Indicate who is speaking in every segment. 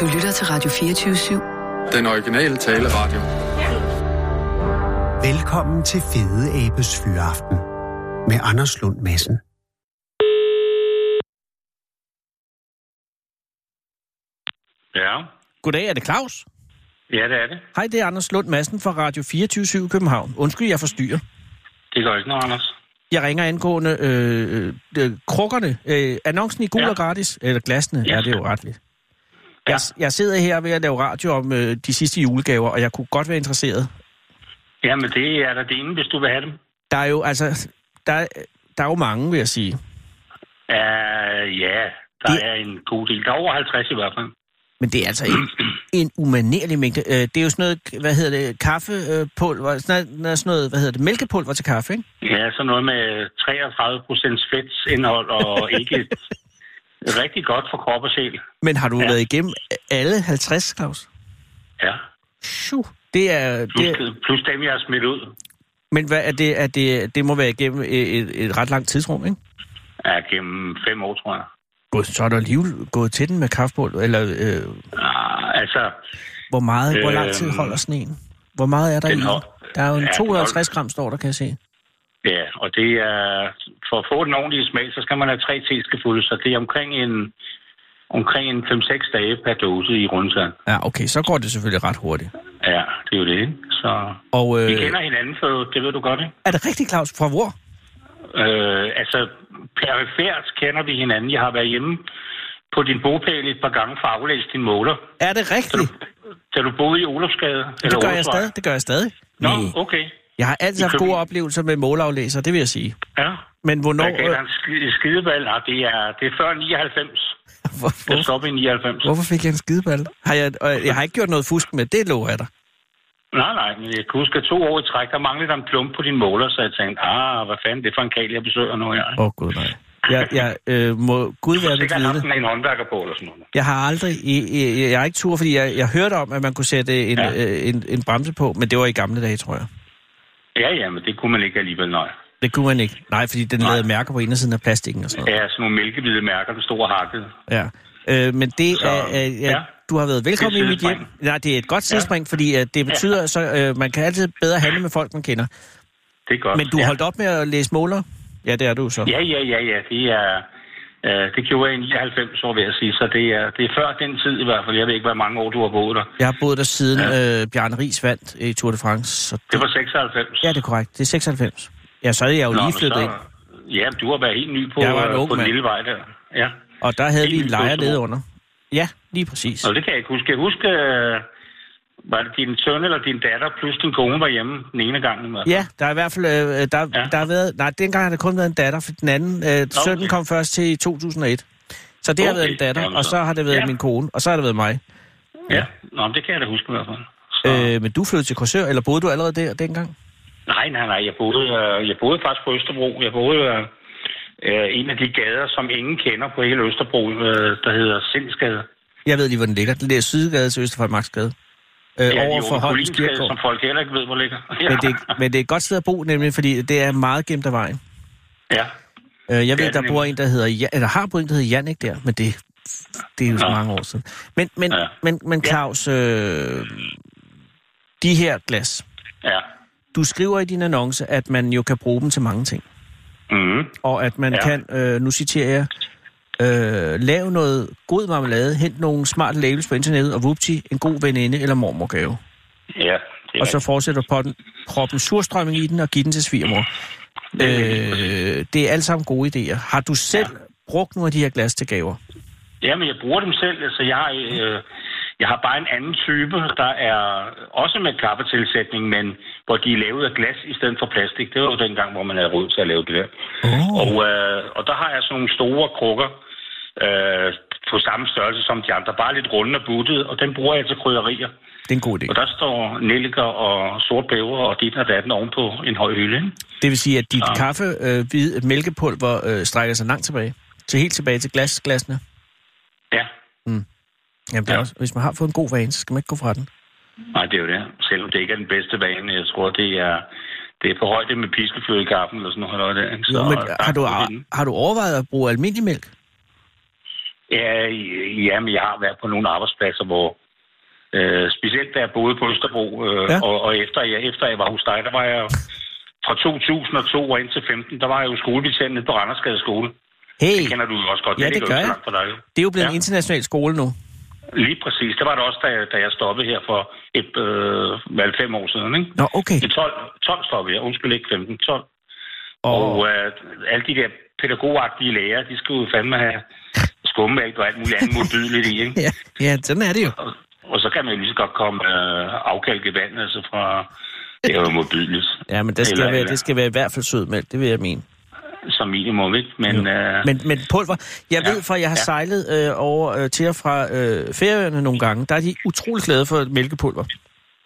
Speaker 1: Du lytter til Radio 24-7.
Speaker 2: Den originale taleradio.
Speaker 3: Velkommen til Fede Abes Fyraften med Anders Lund Madsen.
Speaker 4: Ja,
Speaker 5: Goddag, er det Claus?
Speaker 4: ja det er det.
Speaker 5: Hej, det er Anders Lund Madsen fra Radio 24 København. Undskyld, jeg forstyrrer.
Speaker 4: Det gør ikke noget, Anders.
Speaker 5: Jeg ringer angående øh, øh, krukkerne. Øh, annoncen i gul
Speaker 4: Ja.
Speaker 5: og gratis, eller glassene,
Speaker 4: Ja.
Speaker 5: ja, det er jo retligt.
Speaker 4: Ja.
Speaker 5: Jeg, jeg sidder her ved at lave radio om øh, de sidste julegaver, og jeg kunne godt være interesseret.
Speaker 4: Jamen, det er da dine, hvis du vil have dem.
Speaker 5: Der er jo, altså, der, er- der er jo mange, vil jeg sige.
Speaker 4: Uh, ja, der
Speaker 5: Det-
Speaker 4: er en god del. Der er over 50 i hvert fald.
Speaker 5: Men det er altså en, en umanerlig mængde. Øh, det er jo sådan noget, hvad hedder det, kaffepulver, sådan noget, sådan noget hvad hedder det, mælkepulver til kaffe, ikke?
Speaker 4: Ja, sådan noget med 33 procents fedtindhold og ikke rigtig godt for krop og sjæl.
Speaker 5: Men har du
Speaker 4: Ja.
Speaker 5: ja. været igennem alle 50, Claus?
Speaker 4: Ja,
Speaker 5: Sju. Det er,
Speaker 4: plus,
Speaker 5: det er,
Speaker 4: plus dem, jeg har smidt ud.
Speaker 5: men hvad er det, er det, det må være igennem et, et, et ret langt tidsrum, ikke?
Speaker 4: Ja, gennem fem år, tror jeg.
Speaker 5: Gud, så er der alligevel gået til den med kaffebål, eller øh,
Speaker 4: Ah, altså,
Speaker 5: hvor meget, øh, hvor lang tid
Speaker 4: Øhm,
Speaker 5: holder sneen? Hvor meget er der i?
Speaker 4: den
Speaker 5: den?
Speaker 4: hold-
Speaker 5: Der er jo en
Speaker 4: ja, den
Speaker 5: 250 gram, står der, kan jeg se.
Speaker 4: ja, og det er... For at få den ordentlige smag, så skal man have tre teskefulde, så det er omkring en omkring en 5-6 dage per dose i rundtiden.
Speaker 5: Ja, okay, så går det selvfølgelig ret hurtigt.
Speaker 4: Ja, det er jo det. ikke? Så
Speaker 5: Og
Speaker 4: vi
Speaker 5: øh,
Speaker 4: kender hinanden, for det ved du godt, ikke?
Speaker 5: er det rigtigt, Claus? Fra hvor?
Speaker 4: Øh, altså, perifært kender vi hinanden. Jeg har været hjemme på din bogpæl et par gange for at aflæse din måler,
Speaker 5: Er det rigtigt?
Speaker 4: da du boede i Olofsgade.
Speaker 5: Det gør jeg
Speaker 4: Olofsvej.
Speaker 5: stadig. Mm. Det gør jeg stadig.
Speaker 4: Nå,
Speaker 5: Næ.
Speaker 4: okay.
Speaker 5: Jeg har altid
Speaker 4: I
Speaker 5: haft
Speaker 4: Køben-
Speaker 5: gode oplevelser med måleaflæser, det vil jeg sige.
Speaker 4: Ja.
Speaker 5: Men
Speaker 4: Nå,
Speaker 5: hvornår...
Speaker 4: jeg gav dig
Speaker 5: Øh,
Speaker 4: en sk- skideball. Nej, det er, det er før 99.
Speaker 5: hvor,
Speaker 4: Jeg
Speaker 5: hvor,
Speaker 4: stoppede i 99.
Speaker 5: hvorfor fik jeg en skideball? Har jeg, og jeg har ikke gjort noget fusk med, det lover jeg dig.
Speaker 4: Nej, nej, men jeg kan huske, at to år i træk, der manglede der en klump på din måler, så jeg tænkte, ah, hvad fanden, det er for en kal, jeg besøger nu her. ikke?
Speaker 5: Åh oh, gud, nej. Jeg, jeg øh, må Gud
Speaker 4: Du
Speaker 5: være
Speaker 4: har
Speaker 5: mit
Speaker 4: sikkert haft
Speaker 5: vidne.
Speaker 4: en- en håndværker på, eller sådan noget.
Speaker 5: Jeg har aldrig, i, i, jeg har ikke tur, fordi jeg, jeg hørte om, at man kunne sætte en,
Speaker 4: Ja.
Speaker 5: ja. øh, en, en bremse på, men det var i gamle dage, tror jeg.
Speaker 4: Ja, ja, men det kunne man ikke alligevel, nej.
Speaker 5: Det kunne man ikke. Nej, fordi den lavede mærker på indersiden af plastikken og sådan noget.
Speaker 4: Ja, sådan nogle mælkehvide mærker, den store hakket.
Speaker 5: Ja. Øh, men det
Speaker 4: Så,
Speaker 5: er, er, er,
Speaker 4: ja.
Speaker 5: ja. du har været velkommen
Speaker 4: Det er
Speaker 5: i
Speaker 4: et
Speaker 5: mit hjem.
Speaker 4: sidespring.
Speaker 5: Nej, det er et godt tidspunkt, fordi at det betyder, så øh, man kan altid bedre handle med folk, man kender.
Speaker 4: Det er godt.
Speaker 5: Men du
Speaker 4: ja.
Speaker 5: har holdt op med at læse måler? Ja, det er du så.
Speaker 4: Ja, ja, ja, ja. Det, er, øh, det gjorde jeg i 99 år, vil jeg sige. Så det er, det er før den tid i hvert fald. Jeg ved ikke, hvor mange år du har boet der.
Speaker 5: Jeg har boet der siden øh, Bjarne Ries vandt i Tour de France. Så
Speaker 4: Det var 96.
Speaker 5: Ja, det er korrekt. Det er 96. Ja, så er jeg jo lige flyttet ind.
Speaker 4: Ja, du har været helt ny på,
Speaker 5: Jeg var en
Speaker 4: øh,
Speaker 5: ung
Speaker 4: på den
Speaker 5: mand.
Speaker 4: lille vej der. Ja.
Speaker 5: Og der havde
Speaker 4: Helt
Speaker 5: vi en
Speaker 4: vildt
Speaker 5: lejer
Speaker 4: stor.
Speaker 5: nede under. Ja, lige præcis.
Speaker 4: Og det kan jeg ikke huske. Jeg husker, øh, var det din søn eller din datter, plus din kone var hjemme den ene gang. i hvert fald.
Speaker 5: Ja, der er i hvert fald, øh, der,
Speaker 4: Ja.
Speaker 5: ja. der har været, nej, dengang har der kun været en datter, for den anden, øh, sønnen kom først til i 2001. Så det har
Speaker 4: Okay,
Speaker 5: været en datter,
Speaker 4: jamen
Speaker 5: og
Speaker 4: så.
Speaker 5: så har det været
Speaker 4: Ja.
Speaker 5: min kone, og så har det været mig.
Speaker 4: ja. Nå, men det kan jeg da huske i hvert fald. Så.
Speaker 5: Øh, men du flyttede til Korsør, eller boede du allerede der dengang?
Speaker 4: Nej, nej, nej. Jeg boede, øh, jeg boede faktisk på Østerbro. Jeg boede øh, øh, en af de gader, som ingen kender på hele Østerbro, øh, der hedder Sindsgade.
Speaker 5: Jeg ved lige, hvor den ligger. Den ligger Sydgade til Østerfredmarksgade.
Speaker 4: Ja,
Speaker 5: Øh, ja, over
Speaker 4: Jorden
Speaker 5: for Holmens
Speaker 4: Kulinsgade,
Speaker 5: Kirkegård.
Speaker 4: Som folk heller ikke ved, hvor ligger. Ja.
Speaker 5: Men det, er- men det er et godt sted at bo, nemlig, fordi det er meget gemt af vejen.
Speaker 4: ja.
Speaker 5: Øh, jeg
Speaker 4: Det
Speaker 5: ved,
Speaker 4: er
Speaker 5: der
Speaker 4: det
Speaker 5: bor en, der hedder Jan, eller har boet en, der hedder Jan, ikke der? Men det, det er jo så
Speaker 4: Nå.
Speaker 5: mange år siden. Men, men,
Speaker 4: Ja.
Speaker 5: ja. men, men Claus, øh, de her glas,
Speaker 4: ja.
Speaker 5: du skriver i din annonce, at man jo kan bruge dem til mange ting.
Speaker 4: Mm.
Speaker 5: Og at man
Speaker 4: Ja.
Speaker 5: ja. kan, øh, nu citerer jeg, øh, lave noget god marmelade, hent nogle smarte labels på internettet, og vupti, en god veninde eller mormorgave.
Speaker 4: ja. Det er
Speaker 5: Og så
Speaker 4: rigtigt.
Speaker 5: fortsætter potten, proppen surstrømming i den og giver den til svigermor. Øh, det er alt sammen gode idéer. Har du selv ja. brugt nogle af de her glas til gaver?
Speaker 4: Jamen, jeg bruger dem selv. Altså, jeg har, øh, jeg har bare en anden type, der er også med kaffetilsætning, men hvor de er lavet af glas i stedet for plastik. Det var jo dengang, hvor man havde råd til at lave det der.
Speaker 5: Åh.
Speaker 4: Og, øh, og der har jeg sådan nogle store krukker øh, på samme størrelse som de andre. Bare lidt runde og buttet, og den bruger jeg til krydderier.
Speaker 5: Det er en god idé.
Speaker 4: Og der står nelliker og sort peber og dit og datten ovenpå en høj hylde. ikke?
Speaker 5: Det vil sige, at dit
Speaker 4: Ja.
Speaker 5: ja. kaffe, øh, hvid, mælkepulver øh, strækker sig langt tilbage. Til helt tilbage til glas, glasene.
Speaker 4: Ja,
Speaker 5: Jamen, det er
Speaker 4: Ja.
Speaker 5: også, hvis man har fået en god vane, så skal man ikke gå fra den.
Speaker 4: nej, det er jo det. Selvom det ikke er den bedste vane, jeg tror, det er, det er på højde med piskefløde i kaffen eller sådan noget. Der, ikke?
Speaker 5: Jo, men
Speaker 4: der er
Speaker 5: har du,
Speaker 4: god i den.
Speaker 5: har du overvejet at bruge almindelig mælk?
Speaker 4: Ja, ja, men jeg har været på nogle arbejdspladser, hvor øh, specielt da jeg boede på Østerbro, øh,
Speaker 5: Ja.
Speaker 4: ja. og, og efter, jeg, efter jeg var hos dig, der var jeg fra 2002 og indtil 15, der var jeg jo skolebetjent nede på Randersgade skole.
Speaker 5: Hey,
Speaker 4: Kender du jo også godt.
Speaker 5: Ja,
Speaker 4: den
Speaker 5: det
Speaker 4: ligger jo
Speaker 5: gør
Speaker 4: ikke så
Speaker 5: jeg.
Speaker 4: langt fra dig, jo.
Speaker 5: det er jo blevet ja. en
Speaker 4: Ja.
Speaker 5: international skole nu.
Speaker 4: Lige præcis. Det var det også, da jeg, da jeg stoppede her for et, øh, vel fem år siden, ikke?
Speaker 5: Nå, okay.
Speaker 4: I 12, 12 stoppede jeg. Undskyld, ikke 15, 12. Og
Speaker 5: Og,
Speaker 4: øh, alle de der pædagogagtige læger, de skulle jo fandme have skummælk og alt muligt andet modbydeligt i, ikke?
Speaker 5: ja, ja, sådan er det jo.
Speaker 4: Og, og så kan man jo lige så godt komme øh, afkalket vand, altså fra... Det er jo modbydeligt.
Speaker 5: Ja, men det skal,
Speaker 4: Eller-
Speaker 5: være,
Speaker 4: eller-
Speaker 5: det skal være i hvert fald sødmælk, det vil jeg mene.
Speaker 4: Som minimum, ikke? Men, øh,
Speaker 5: Men, men pulver, jeg
Speaker 4: Ja,
Speaker 5: ved fra, jeg har
Speaker 4: ja.
Speaker 5: sejlet øh, over øh, til og fra øh, færøerne nogle gange, der er de utrolig glade for mælkepulver.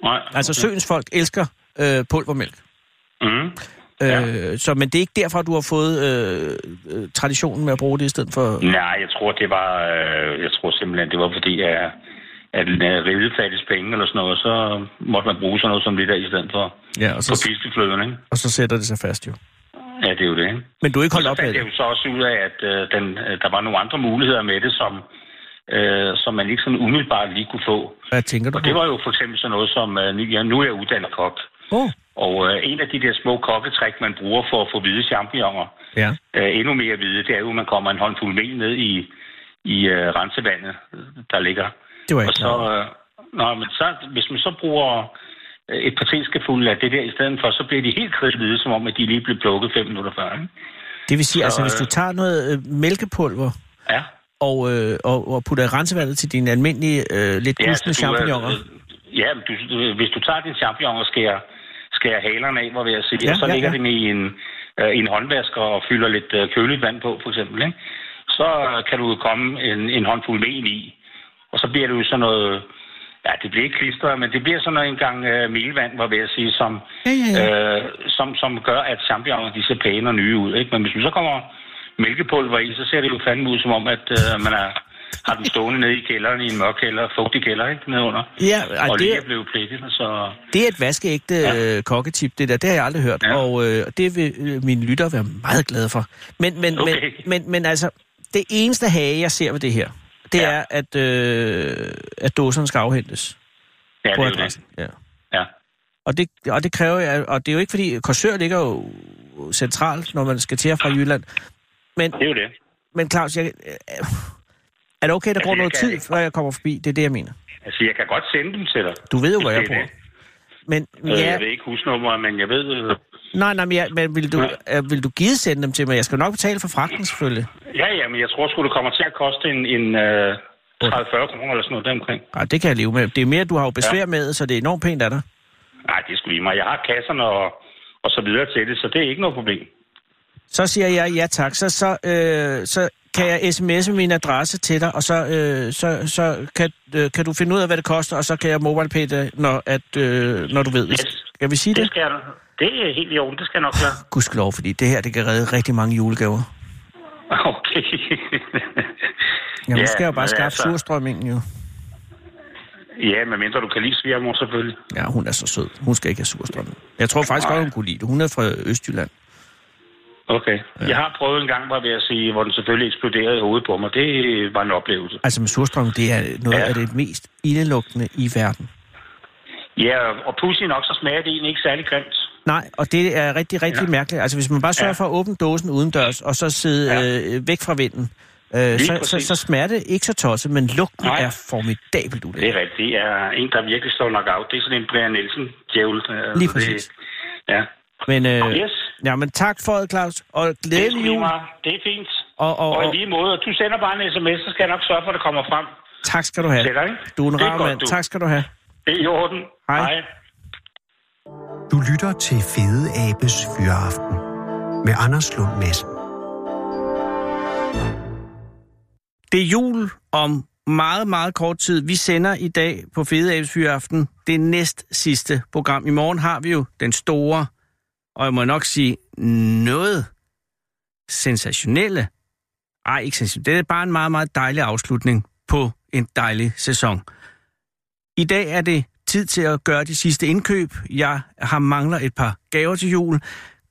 Speaker 4: nej.
Speaker 5: Altså søens folk elsker øh, pulvermælk.
Speaker 4: Mm. Ja.
Speaker 5: Øh, så, men det er ikke derfor, du har fået øh, øh, traditionen med at bruge det i stedet for...
Speaker 4: Nej, jeg tror, det var... Øh, jeg tror simpelthen, det var fordi, at, at øh, ridefattes penge eller sådan noget, så måtte man bruge sådan noget som det der i stedet for.
Speaker 5: Ja, og
Speaker 4: På
Speaker 5: så,
Speaker 4: fiskefløden, ikke?
Speaker 5: og så sætter det sig fast jo.
Speaker 4: Ja, det er jo det, ikke?
Speaker 5: Men du er ikke holdt op
Speaker 4: Så
Speaker 5: med
Speaker 4: fandt jeg
Speaker 5: det.
Speaker 4: jo så også ud af, at øh, den, øh, der var nogle andre muligheder med det, som, øh, som man ikke sådan umiddelbart lige kunne få.
Speaker 5: Hvad tænker du
Speaker 4: Og det
Speaker 5: på?
Speaker 4: var jo for eksempel sådan noget som, øh, nu, ja, nu er jeg uddannet kok,
Speaker 5: Åh,
Speaker 4: og øh, en af de der små kokketrik, man bruger for at få hvide champignoner,
Speaker 5: ja.
Speaker 4: øh, endnu mere hvide, det er jo, at man kommer en håndfuld mel ned i, i øh, rensevandet, der ligger.
Speaker 5: Det var jeg
Speaker 4: Og
Speaker 5: ikke
Speaker 4: så,
Speaker 5: klar. over.
Speaker 4: øh, nå, men så, hvis man så bruger øh, et par teskefulde af det der i stedet for, så bliver de helt kridhvide, som om, at de lige blev plukket fem minutter før. Ikke?
Speaker 5: Det vil sige, altså
Speaker 4: så,
Speaker 5: hvis du
Speaker 4: øh,
Speaker 5: tager noget øh, mælkepulver
Speaker 4: Ja.
Speaker 5: og, øh, og, og putter i rensevandet til dine almindelige, øh, lidt
Speaker 4: Ja,
Speaker 5: gusne
Speaker 4: så du, øh,
Speaker 5: champignoner.
Speaker 4: øh, Ja, men du, du- hvis du tager din champignon og skærer, skærer halerne af, hvor jeg sige,
Speaker 5: Ja,
Speaker 4: ja, og så
Speaker 5: ja,
Speaker 4: ja, lægger
Speaker 5: ja.
Speaker 4: ja. den i en, øh, i en håndvask og fylder lidt øh, køligt vand på, for eksempel, ikke? så øh, kan du komme en, en håndfuld mel i, og så bliver det jo sådan noget, ja, det bliver ikke klistret, men det bliver sådan noget en gang øh, melvand, hvor jeg sige, som,
Speaker 5: Ja, ja, ja.
Speaker 4: Øh, som, som gør, at champignoner, de ser pæne og nye ud, ikke? Men hvis man så kommer mælkepulver i, så ser det jo fandme ud, som om, at øh, man er, har den stående nede i kælderen i en mørk kælder, fugtig kælder, ikke? Nedenunder.
Speaker 5: Ja, ej,
Speaker 4: og
Speaker 5: det
Speaker 4: lige
Speaker 5: er-
Speaker 4: er blevet plikket, så...
Speaker 5: Det er et vaskeægte ja.
Speaker 4: Ja.
Speaker 5: øh, kokketip, det der. Det har jeg aldrig hørt, ja.
Speaker 4: Ja.
Speaker 5: og øh, det vil øh, mine lyttere være meget glade for. Men, men, okay. men,
Speaker 4: Okay.
Speaker 5: men, men altså, det eneste hage, jeg ser ved det her, det ja.
Speaker 4: Ja.
Speaker 5: er, at, øh, at dåserne skal afhentes
Speaker 4: Ja,
Speaker 5: på
Speaker 4: det er jo det.
Speaker 5: adressen. Ja.
Speaker 4: Ja.
Speaker 5: Og, det, og det kræver jeg, og det er jo ikke fordi, Korsør ligger jo centralt, når man skal til og fra Jylland. Men,
Speaker 4: Det er jo det.
Speaker 5: men Claus, jeg, øh, er det okay, der
Speaker 4: Altså,
Speaker 5: går
Speaker 4: jeg
Speaker 5: noget
Speaker 4: kan
Speaker 5: tid,
Speaker 4: ikke-
Speaker 5: før jeg kommer forbi? Det er det, jeg mener.
Speaker 4: Altså, jeg kan godt sende dem til dig.
Speaker 5: Du ved jo, hvor
Speaker 4: Det
Speaker 5: jeg
Speaker 4: er
Speaker 5: bor.
Speaker 4: det.
Speaker 5: Men,
Speaker 4: Ja.
Speaker 5: ja,
Speaker 4: Øh, Jeg ved ikke husnummeret, men jeg ved... øh,
Speaker 5: Nej, nej, men, jeg, men vil, du, øh, vil du give sende dem til mig? Jeg skal jo nok betale for fragten, selvfølgelig.
Speaker 4: Ja, ja, men jeg tror sgu, det kommer til at koste en, en øh, 30-40 kroner eller sådan noget deromkring.
Speaker 5: Ej, det kan jeg leve med. Det er mere, du har jo besvær ja.
Speaker 4: Ja.
Speaker 5: med, så det er enormt pænt af dig.
Speaker 4: Nej, det er sgu lige mig. Jeg har kasserne og, og så videre til det, så det er ikke noget problem.
Speaker 5: Så siger jeg ja tak, så, så, øh, så kan jeg sms'e min adresse til dig, og så, øh, så, så kan, øh, kan du finde ud af, hvad det koster, og så kan jeg mobile dig, når, at, øh, når du ved det.
Speaker 4: Yes.
Speaker 5: Kan vi sige
Speaker 4: Det
Speaker 5: det?
Speaker 4: skal jeg, det er helt i orden, det skal jeg nok klare.
Speaker 5: Gudskelov, fordi det her, det kan redde rigtig mange julegaver.
Speaker 4: Okay.
Speaker 5: Jamen, ja, nu skal jeg jo bare
Speaker 4: men
Speaker 5: skaffe altså... surstrømmingen jo.
Speaker 4: Ja, medmindre du kan lide svigermor selvfølgelig.
Speaker 5: Ja, hun er så sød. Hun skal ikke have surstrømming. Jeg tror faktisk godt, hun kunne lide det. Hun er fra Østjylland.
Speaker 4: Okay. Ja. Jeg har prøvet en gang, var ved at sige, hvor den selvfølgelig eksploderede i hovedet på mig. Det var en oplevelse.
Speaker 5: Altså med surstrøm, det er noget ja.
Speaker 4: Ja.
Speaker 5: af det mest ildelugtende i verden.
Speaker 4: Ja, og pudsigt nok, så smager det egentlig ikke særlig grimt.
Speaker 5: Nej, og det er rigtig, rigtig ja.
Speaker 4: Ja.
Speaker 5: mærkeligt. Altså hvis man bare sørger ja.
Speaker 4: Ja.
Speaker 5: for at åbne dåsen udendørs, og så sidde ja.
Speaker 4: Ja.
Speaker 5: øh, væk fra vinden, øh, så, så,
Speaker 4: præcis.
Speaker 5: så smager det ikke så tosset, men lugten Nej.
Speaker 4: Nej.
Speaker 5: er formidabelt
Speaker 4: Det
Speaker 5: ulækkert.
Speaker 4: er rigtigt. Det er en, der virkelig slår nok af. Det er sådan en Brian Nielsen djævel. Altså,
Speaker 5: Lige præcis.
Speaker 4: Det, ja.
Speaker 5: Men, øh,
Speaker 4: Yes.
Speaker 5: ja, men tak for det, Claus, og
Speaker 4: Det er,
Speaker 5: glædelig
Speaker 4: sgu lige
Speaker 5: jul.
Speaker 4: meget. det er fint.
Speaker 5: Og- og-
Speaker 4: og
Speaker 5: og-
Speaker 4: i lige måde, og du sender bare en sms, så skal jeg nok sørge for, at det kommer frem
Speaker 5: Tak skal du have.
Speaker 4: til dig. ikke?
Speaker 5: Du er en
Speaker 4: Det
Speaker 5: rar
Speaker 4: godt,
Speaker 5: mand.
Speaker 4: du.
Speaker 5: Tak skal du have.
Speaker 4: Det er i orden.
Speaker 5: Hej.
Speaker 3: Du lytter til Fede Abes Fyraften med Anders Lund Madsen.
Speaker 5: Det er jul om meget, meget kort tid. Vi sender i dag på Fede Abes Fyraften det næst sidste program. I morgen har vi jo den store, og jeg må nok sige noget sensationelle. Ej, ikke sensationelle. Det er bare en meget, meget dejlig afslutning på en dejlig sæson. I dag er det tid til at gøre de sidste indkøb. Jeg har mangler et par gaver til jul.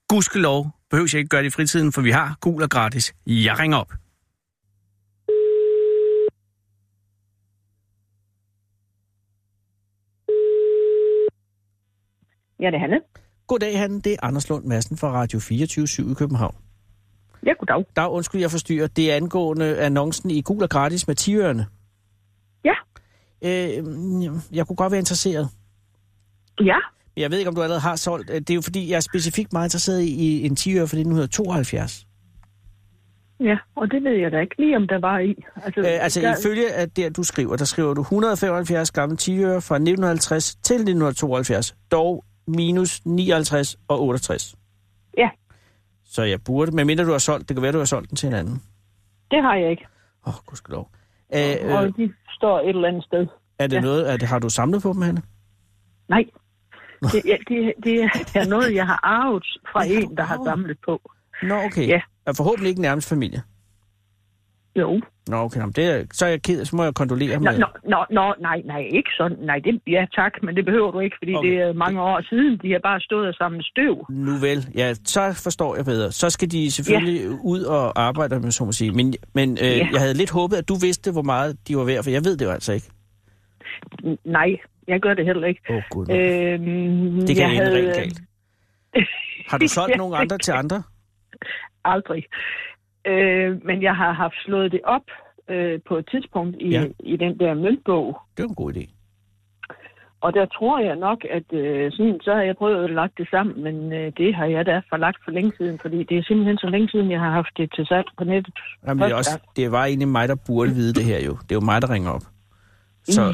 Speaker 5: Gudskelov behøver jeg ikke gøre det i fritiden, for vi har gul og gratis. Jeg ringer op.
Speaker 6: Ja, det er Hanne.
Speaker 5: Goddag, han. Det er Anders Lund Madsen fra Radio 24 i København.
Speaker 6: Ja, goddag.
Speaker 5: Der undskyld, jeg forstyrrer. Det er angående annoncen i Gul og Gratis med 10 ørerne.
Speaker 6: Ja.
Speaker 5: Øh, jeg kunne godt være interesseret.
Speaker 6: Ja,
Speaker 5: Jeg ved ikke, om du allerede har solgt. Øh, Det er jo fordi, jeg er specifikt meget interesseret i- i en 10 øre fra 1972.
Speaker 6: ja, og det ved jeg da ikke lige, om der var i. Altså,
Speaker 5: Øh, altså
Speaker 6: der,
Speaker 5: ifølge af der, du skriver, der skriver du 175 gamle 10 øre fra 1950 til 1972, dog minus 59 og 68.
Speaker 6: Ja,
Speaker 5: Så jeg burde, medmindre du har solgt, det kan være, du har solgt den til en anden.
Speaker 6: det har jeg ikke.
Speaker 5: Åh, oh, gudskelov. Øh,
Speaker 6: Og
Speaker 5: øh,
Speaker 6: de står et eller andet sted.
Speaker 5: er det noget, er det, har du samlet på dem, Hanne?
Speaker 6: Nej, det, ja, det, det er noget, jeg har arvet fra en, der har samlet på.
Speaker 5: Nå, okay.
Speaker 6: Ja.
Speaker 5: Og forhåbentlig ikke nærmest familie.
Speaker 6: Jo.
Speaker 5: Nå, okay, nå, men det er, så er jeg ked, så må jeg kondolere
Speaker 6: Nå,
Speaker 5: med.
Speaker 6: nå, nå, nå, nej, nej, ikke sådan. Nej, det, ja tak, men det behøver du ikke, fordi
Speaker 5: Okay.
Speaker 6: okay. det er mange år siden, de har bare stået og samlet støv.
Speaker 5: Nu vel, ja, så forstår jeg bedre. Så skal de selvfølgelig ja. ud og arbejde med, så må sige. Men, men øh, ja.
Speaker 6: Ja.
Speaker 5: jeg havde lidt håbet, at du vidste, hvor meget de var værd, for jeg ved det jo altså ikke.
Speaker 6: N- Nej, jeg gør det heller ikke.
Speaker 5: Åh, oh, gud. mand.
Speaker 6: Øhm,
Speaker 5: det kan
Speaker 6: jeg
Speaker 5: ende
Speaker 6: havde,
Speaker 5: rent galt. Har du solgt
Speaker 6: Ja,
Speaker 5: nogen
Speaker 6: det
Speaker 5: andre til andre?
Speaker 6: Aldrig. Øh, men jeg har haft slået det op øh, på et tidspunkt i,
Speaker 5: Ja.
Speaker 6: ja. i den der møntbog.
Speaker 5: Det er en god idé.
Speaker 6: Og der tror jeg nok, at øh, sådan, så har jeg prøvet at lagt det sammen, men øh, det har jeg da forlagt for længe siden, fordi det er simpelthen så længe siden, jeg har haft det til salg på nettet.
Speaker 5: Jamen, det, er
Speaker 6: Hold
Speaker 5: også,
Speaker 6: da.
Speaker 5: det var egentlig mig, der burde vide det her jo. Det er jo mig, der ringer op.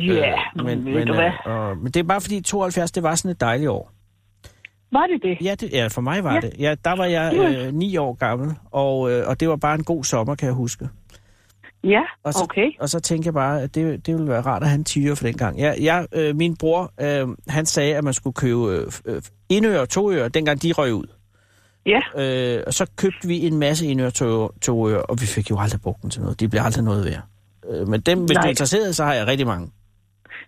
Speaker 6: Ja,
Speaker 5: men,
Speaker 6: ved
Speaker 5: men,
Speaker 6: du hvad?
Speaker 5: øh, øh, men det er bare fordi 72, det var sådan et dejligt år.
Speaker 6: Var det det?
Speaker 5: Ja, det, ja for mig var ja.
Speaker 6: Ja.
Speaker 5: det. Ja, der var jeg øh, ni år gammel, og, øh, og det var bare en god sommer, kan jeg huske.
Speaker 6: Ja,
Speaker 5: Og så,
Speaker 6: okay.
Speaker 5: og så tænkte jeg bare, at det, det ville være rart at have en 10'er for den gang. Jeg, jeg, øh, min bror, øh, han sagde, at man skulle købe øh, øh, indører og toører, dengang de røg ud.
Speaker 6: Ja,
Speaker 5: Øh, og så købte vi en masse indører og toører, toører, og vi fik jo aldrig brugt dem til noget. De blev aldrig noget værd. Øh, men dem, hvis Nej. du
Speaker 6: Nej.
Speaker 5: er interesseret, så har jeg rigtig mange.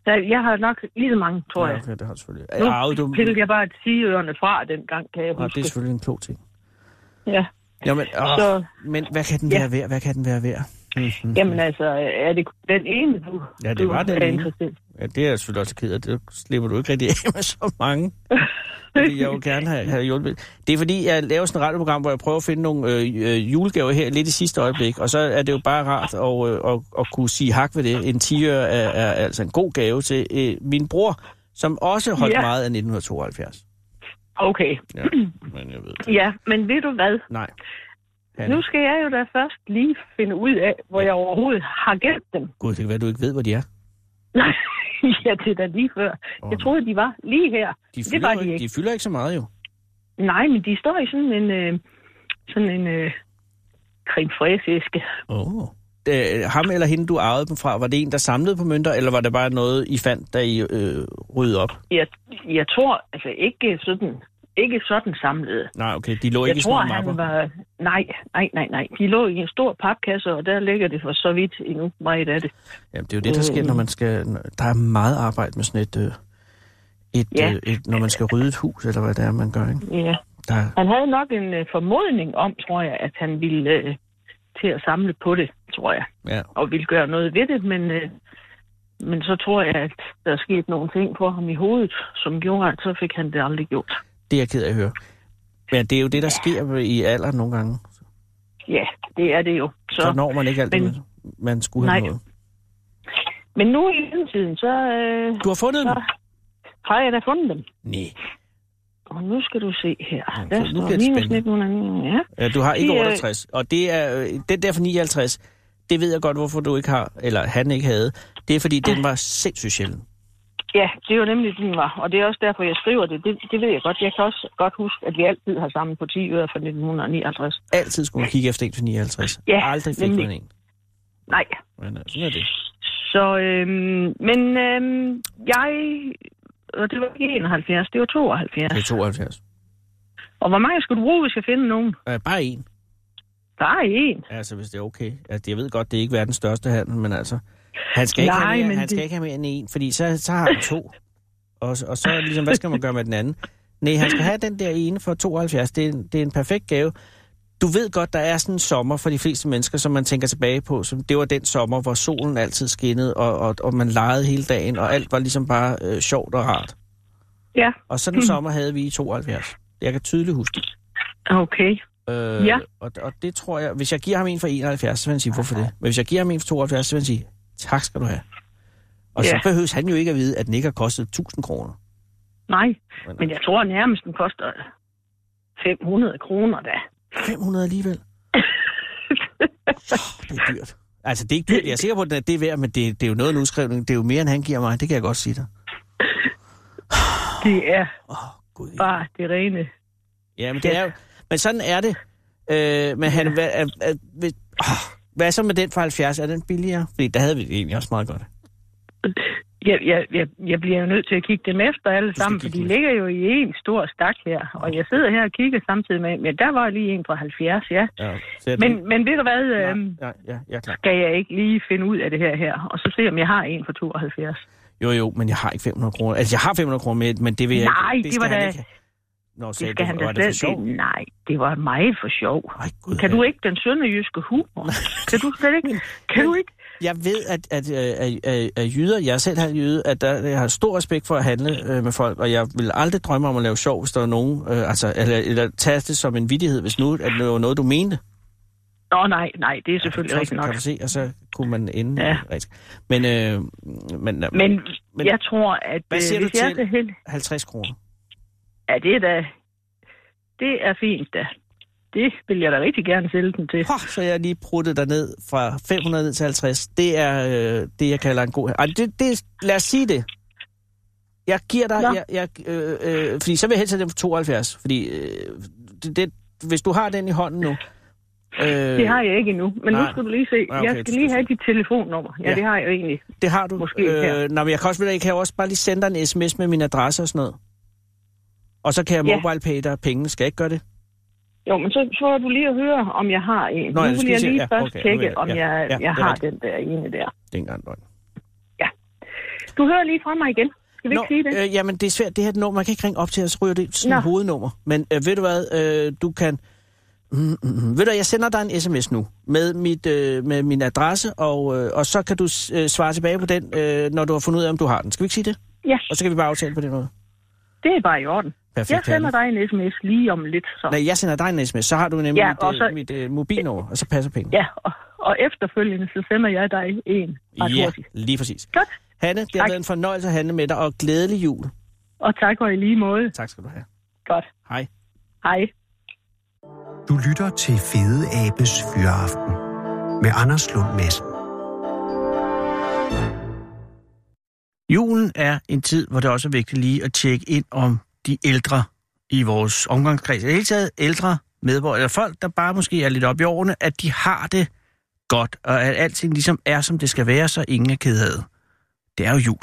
Speaker 6: så jeg har nok lige så mange, tror jeg.
Speaker 5: okay, det har du selvfølgelig.
Speaker 6: Nu
Speaker 5: Arvede du...
Speaker 6: pillede jeg bare tiøerne fra dengang, kan jeg
Speaker 5: Nå, det
Speaker 6: huske.
Speaker 5: er selvfølgelig en klog ting.
Speaker 6: Ja.
Speaker 5: Jamen, åh,
Speaker 6: Så-
Speaker 5: men hvad kan den
Speaker 6: Ja.
Speaker 5: være værd? Hvad kan den være værd? Mhm.
Speaker 6: Jamen altså, er det den ene, du,
Speaker 5: Ja, det
Speaker 6: du
Speaker 5: var den
Speaker 6: er
Speaker 5: ene.
Speaker 6: interesseret i?
Speaker 5: Ja, det er jeg selvfølgelig også ked af. Det slipper du ikke rigtig af med så mange. Fordi jeg jo gerne have, have hjulpet. Det er fordi, jeg laver sådan et radioprogram, hvor jeg prøver at finde nogle øh, øh, julegaver her lidt i sidste øjeblik. Og så er det jo bare rart at, øh, at, at kunne sige hak ved det. En 10'er er, er altså en god gave til øh, min bror, som også holdt ja.
Speaker 6: Ja.
Speaker 5: meget af 1972.
Speaker 6: Okay,
Speaker 5: Ja, men jeg ved det.
Speaker 6: ja, men ved du hvad?
Speaker 5: Nej.
Speaker 6: Ja.
Speaker 5: Hanne,
Speaker 6: Nu skal jeg jo da først lige finde ud af, hvor jeg overhovedet har gemt dem.
Speaker 5: Gud, det kan være, du ikke ved, hvor de er.
Speaker 6: ja, det er da lige før.
Speaker 5: Åh,
Speaker 6: Jeg troede, de var lige her.
Speaker 5: de
Speaker 6: det var
Speaker 5: jo
Speaker 6: de ikke.
Speaker 5: De fylder ikke så meget jo.
Speaker 6: Nej, men de står i sådan en, øh, sådan en øh, creme fraise-æske.
Speaker 5: Oh. Det, ham eller hende, du arvede dem fra, var det en, der samlede på mønter, eller var det bare noget, I fandt, da I øh, ryddede op?
Speaker 6: Jeg, jeg tror, altså ikke sådan, ikke sådan samlet.
Speaker 5: Nej, okay, de lå
Speaker 6: Jeg
Speaker 5: ikke
Speaker 6: tror,
Speaker 5: i små mapper.
Speaker 6: han var... Nej, nej, nej, nej. De lå i en stor papkasse, og der ligger det for så vidt endnu meget af det.
Speaker 5: Jamen, det er jo det, der sker, når man skal... når- Der er meget arbejde med sådan et... Øh, et,
Speaker 6: Ja.
Speaker 5: øh, et, når man skal rydde et hus, eller hvad det er, man gør, ikke?
Speaker 6: Ja.
Speaker 5: Der, er-
Speaker 6: Han havde nok en øh, formodning om, tror jeg, at han ville øh, til at samle på det, tror jeg.
Speaker 5: ja.
Speaker 6: og ville gøre noget ved det, men, øh, men så tror jeg, at der er sket nogle ting for ham i hovedet, som gjorde, at så fik han det aldrig gjort.
Speaker 5: Det er jeg ked af at høre. Men det er jo det, der sker i alderen nogle gange.
Speaker 6: Ja, det er det jo.
Speaker 5: Så,
Speaker 6: Så,
Speaker 5: så når man ikke alt
Speaker 6: men-
Speaker 5: det, man skulle have
Speaker 6: Nej.
Speaker 5: noget.
Speaker 6: Men nu i mellemtiden, så øh,
Speaker 5: Du har fundet dem?
Speaker 6: Så- har jeg da fundet dem.
Speaker 5: Nej.
Speaker 6: Og nu skal du se her.
Speaker 5: Okay,
Speaker 6: Der
Speaker 5: nu
Speaker 6: står
Speaker 5: bliver det
Speaker 6: minus
Speaker 5: spændende.
Speaker 6: 1909. Ja.
Speaker 5: Ja, du har ikke
Speaker 6: De, øh,
Speaker 5: 68, og det er øh, den der for 59. Det ved jeg godt, hvorfor du ikke har, eller han ikke havde. Det er, fordi
Speaker 6: Ah.
Speaker 5: den var sindssygt sjældent.
Speaker 6: ja, det var nemlig den var. Og det er også derfor, jeg skriver det. det. Det ved jeg godt. Jeg kan også godt huske, at vi altid har sammen på 10 øre fra 1959.
Speaker 5: Altid skulle man kigge efter en for 59.
Speaker 6: Ja,
Speaker 5: Aldrig fik
Speaker 6: nemlig.
Speaker 5: man en.
Speaker 6: Nej,
Speaker 5: Men øh, sådan er det.
Speaker 6: Så, øhm, men øhm, jeg, og det var ikke 71, det var 72.
Speaker 5: Det er 72.
Speaker 6: Og hvor mange skulle du bruge, hvis jeg finder nogen?
Speaker 5: Øh, bare en.
Speaker 6: Der er en.
Speaker 5: Altså, hvis det er okay. Altså, jeg ved godt, det er ikke verdens største handel, men altså... Han skal ikke,
Speaker 6: Nej,
Speaker 5: have, mere,
Speaker 6: men
Speaker 5: han skal
Speaker 6: det-
Speaker 5: ikke have mere end en, fordi så, så har han to. Og, og så er det ligesom, hvad skal man gøre med den anden? Nej, han skal have den der ene for 72. Det er, en- det er en perfekt gave. Du ved godt, der er sådan en sommer for de fleste mennesker, som man tænker tilbage på. Som, det var den sommer, hvor solen altid skinnede, og, og, og man legede hele dagen, og alt var ligesom bare øh, sjovt og rart.
Speaker 6: Ja,
Speaker 5: Og sådan en
Speaker 6: Mm.
Speaker 5: sommer havde vi i 72. Jeg kan tydeligt huske det.
Speaker 6: okay.
Speaker 5: Øh,
Speaker 6: Ja.
Speaker 5: og, og det tror jeg, hvis jeg giver ham en for 71, så vil han sige, hvorfor det? Men hvis jeg giver ham en for 72, så vil han sige, tak skal du have. Og ja. så
Speaker 6: Ja.
Speaker 5: behøves han jo ikke at vide, at den ikke har kostet 1000 kroner.
Speaker 6: Nej, men jeg tror nærmest, den koster 500 kroner da.
Speaker 5: 500 alligevel. Åh, det er dyrt. Altså, det er ikke dyrt. Jeg er sikker på, at det er værd, men det, det er jo noget af en udskrivning. Det er jo mere, end han giver mig. Det kan jeg godt sige dig.
Speaker 6: Det er
Speaker 5: Åh, oh, gud.
Speaker 6: bare det rene.
Speaker 5: Ja, men, det er, jo- men sådan er det. Øh, men han, hvad, er, er, vil, oh, hvad så med den fra 70? Er den billigere? Fordi der havde vi det egentlig også meget godt.
Speaker 6: Jeg, jeg, jeg, jeg bliver jo nødt til at kigge dem efter alle
Speaker 5: skal
Speaker 6: sammen, for
Speaker 5: kigge dem
Speaker 6: de ligger jo i en stor stak her. Og jeg sidder her og kigger samtidig med, men der var lige en fra 70, ja.
Speaker 5: Ja, så er den-
Speaker 6: Men, men ved du hvad, øhm,
Speaker 5: Nej, nej, ja, jeg er klar.
Speaker 6: skal jeg ikke lige finde ud af det her her, og så se, om jeg har en fra 72.
Speaker 5: Jo, jo, men jeg har ikke 500 kroner. Altså, jeg har 500 kroner med, men det vil jeg
Speaker 6: Nej,
Speaker 5: ikke.
Speaker 6: det
Speaker 5: skal
Speaker 6: var
Speaker 5: han
Speaker 6: da-
Speaker 5: ikke have. Nå,
Speaker 6: Det
Speaker 5: sagde
Speaker 6: skal
Speaker 5: du,
Speaker 6: han
Speaker 5: var
Speaker 6: da
Speaker 5: det for
Speaker 6: slet
Speaker 5: sjov?
Speaker 6: ikke. Nej, det var meget for sjov.
Speaker 5: Ej, Gud,
Speaker 6: Kan
Speaker 5: ja.
Speaker 6: du ikke den sønderjyske humor? Kan du slet ikke? Kan du ikke?
Speaker 5: Jeg ved, at, at, øh, at, at, at jyder, jeg er selv har jyde, at der, jeg har stor respekt for at handle øh, med folk, og jeg vil aldrig drømme om at lave sjov, hvis der er nogen, øh, altså, eller, eller tage det som en vittighed, hvis nu at det var noget, du mente.
Speaker 6: Nå nej, nej, det er selvfølgelig
Speaker 5: Så
Speaker 6: rigtigt nok.
Speaker 5: Kan du se, og så kunne man ende
Speaker 6: Ja.
Speaker 5: ja. Men, øh, men,
Speaker 6: Men,
Speaker 5: Men-
Speaker 6: jeg tror, at
Speaker 5: Hvad
Speaker 6: øh,
Speaker 5: siger
Speaker 6: hvis
Speaker 5: du
Speaker 6: jeg
Speaker 5: til-
Speaker 6: er så heldig...
Speaker 5: 50 kroner.
Speaker 6: Ja, det er da... Det er fint da. Det vil jeg da rigtig gerne sælge den til.
Speaker 5: Hå, så jeg lige pruttet dig ned fra 500 ned til 50. Det er øh, det, jeg kalder en god... Ej, det, det, lad os sige det. Jeg giver dig...
Speaker 6: Nå.
Speaker 5: Jeg, jeg, øh, øh, fordi så vil jeg helst have den for 72. Fordi øh, det, det, hvis du har den i hånden nu... Øh,
Speaker 6: Det har jeg ikke endnu, men nu
Speaker 5: nej.
Speaker 6: skal du lige se.
Speaker 5: Ja, okay,
Speaker 6: Jeg skal lige have dit telefonnummer. Ja,
Speaker 5: Ja.
Speaker 6: det har jeg jo egentlig.
Speaker 5: det har du. øh,
Speaker 6: Måske her.
Speaker 5: nå, men jeg kan også, jeg kan også bare lige sende dig en sms med min adresse og sådan noget. Og så kan jeg
Speaker 6: Ja.
Speaker 5: mobile dig pengene. Skal jeg ikke gøre det?
Speaker 6: Jo, men så prøver du lige at høre, om jeg har en.
Speaker 5: Nå,
Speaker 6: nu
Speaker 5: ja, du
Speaker 6: vil
Speaker 5: skal lige
Speaker 6: jeg
Speaker 5: se-
Speaker 6: lige
Speaker 5: ja,
Speaker 6: først
Speaker 5: okay, nu ved jeg-
Speaker 6: tjekke, om
Speaker 5: ja, ja,
Speaker 6: jeg,
Speaker 5: det er
Speaker 6: jeg har
Speaker 5: rigtigt.
Speaker 6: den der ene der.
Speaker 5: Det er ikke engang løgn.
Speaker 6: Du hører lige fra mig igen. Skal vi ikke sige det?
Speaker 5: Øh, jamen, det er svært. Det her nummer, man kan ikke ringe op til, og så ryger det sådan et
Speaker 6: Nå.
Speaker 5: hovednummer. Men øh, ved du hvad, øh, du kan... Mm, mm, mm. Ved du, hvad, jeg sender dig en sms nu med, mit, øh, med min adresse, og, øh, og så kan du s- øh, svare tilbage på den, øh, når du har fundet ud af, om du har den. Skal vi ikke sige det?
Speaker 6: Ja,
Speaker 5: Og så kan vi bare aftale på den måde.
Speaker 6: det er bare i orden.
Speaker 5: Perfekt,
Speaker 6: Jeg sender
Speaker 5: Hanne.
Speaker 6: dig en sms lige om lidt, så.
Speaker 5: Nej, jeg sender dig en sms, så har du nemlig
Speaker 6: Ja,
Speaker 5: ja, mit,
Speaker 6: og
Speaker 5: øh,
Speaker 6: så-
Speaker 5: mit øh, mobilnummer, og så passer penge.
Speaker 6: Ja, og, og efterfølgende, så sender jeg dig en ret
Speaker 5: ja
Speaker 6: hurtigt.
Speaker 5: lige præcis.
Speaker 6: Godt,
Speaker 5: Hanne, det har
Speaker 6: Tak.
Speaker 5: været en fornøjelse at handle med dig, og glædelig jul.
Speaker 6: og tak og i lige måde.
Speaker 5: Tak skal du have.
Speaker 6: Godt,
Speaker 5: Hej.
Speaker 6: hej.
Speaker 3: Du lytter til Fede Abes Fyraften med Anders Lund Madsen.
Speaker 5: Julen er en tid, hvor det også er vigtigt lige at tjekke ind om de ældre i vores omgangskreds. I det hele taget ældre medborgere, eller folk, der bare måske er lidt op i årene, at de har det godt, og at alting ligesom er, som det skal være, så ingen er ked af det. Det er jo jul.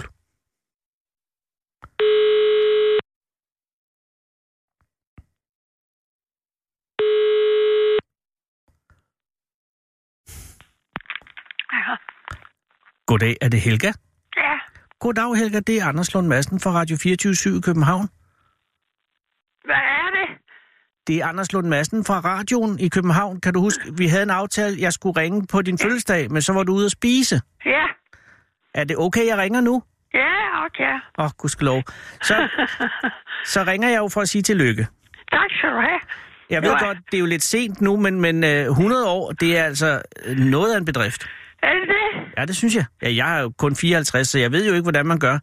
Speaker 5: Goddag, er det Helga?
Speaker 7: Ja,
Speaker 5: Goddag Helga, det er Anders Lund Madsen fra Radio 24 i København.
Speaker 7: hvad er det?
Speaker 5: Det er Anders Lund Madsen fra radioen i København. Kan du huske, vi havde en aftale, jeg skulle ringe på din fødselsdag, men så var du ude at spise.
Speaker 7: Ja,
Speaker 5: Er det okay, jeg ringer nu?
Speaker 7: ja, okay.
Speaker 5: Åh, oh, gudskelov. Så, så ringer jeg jo for at sige tillykke.
Speaker 7: Tak skal du have.
Speaker 5: Jeg ved
Speaker 7: Ja.
Speaker 5: godt, det er jo lidt sent nu, men, men øh, 100 år, det er altså øh, noget af en bedrift.
Speaker 7: Er det det?
Speaker 5: Ja, det synes jeg. Ja, jeg er jo kun 54, så jeg ved jo ikke, hvordan man gør.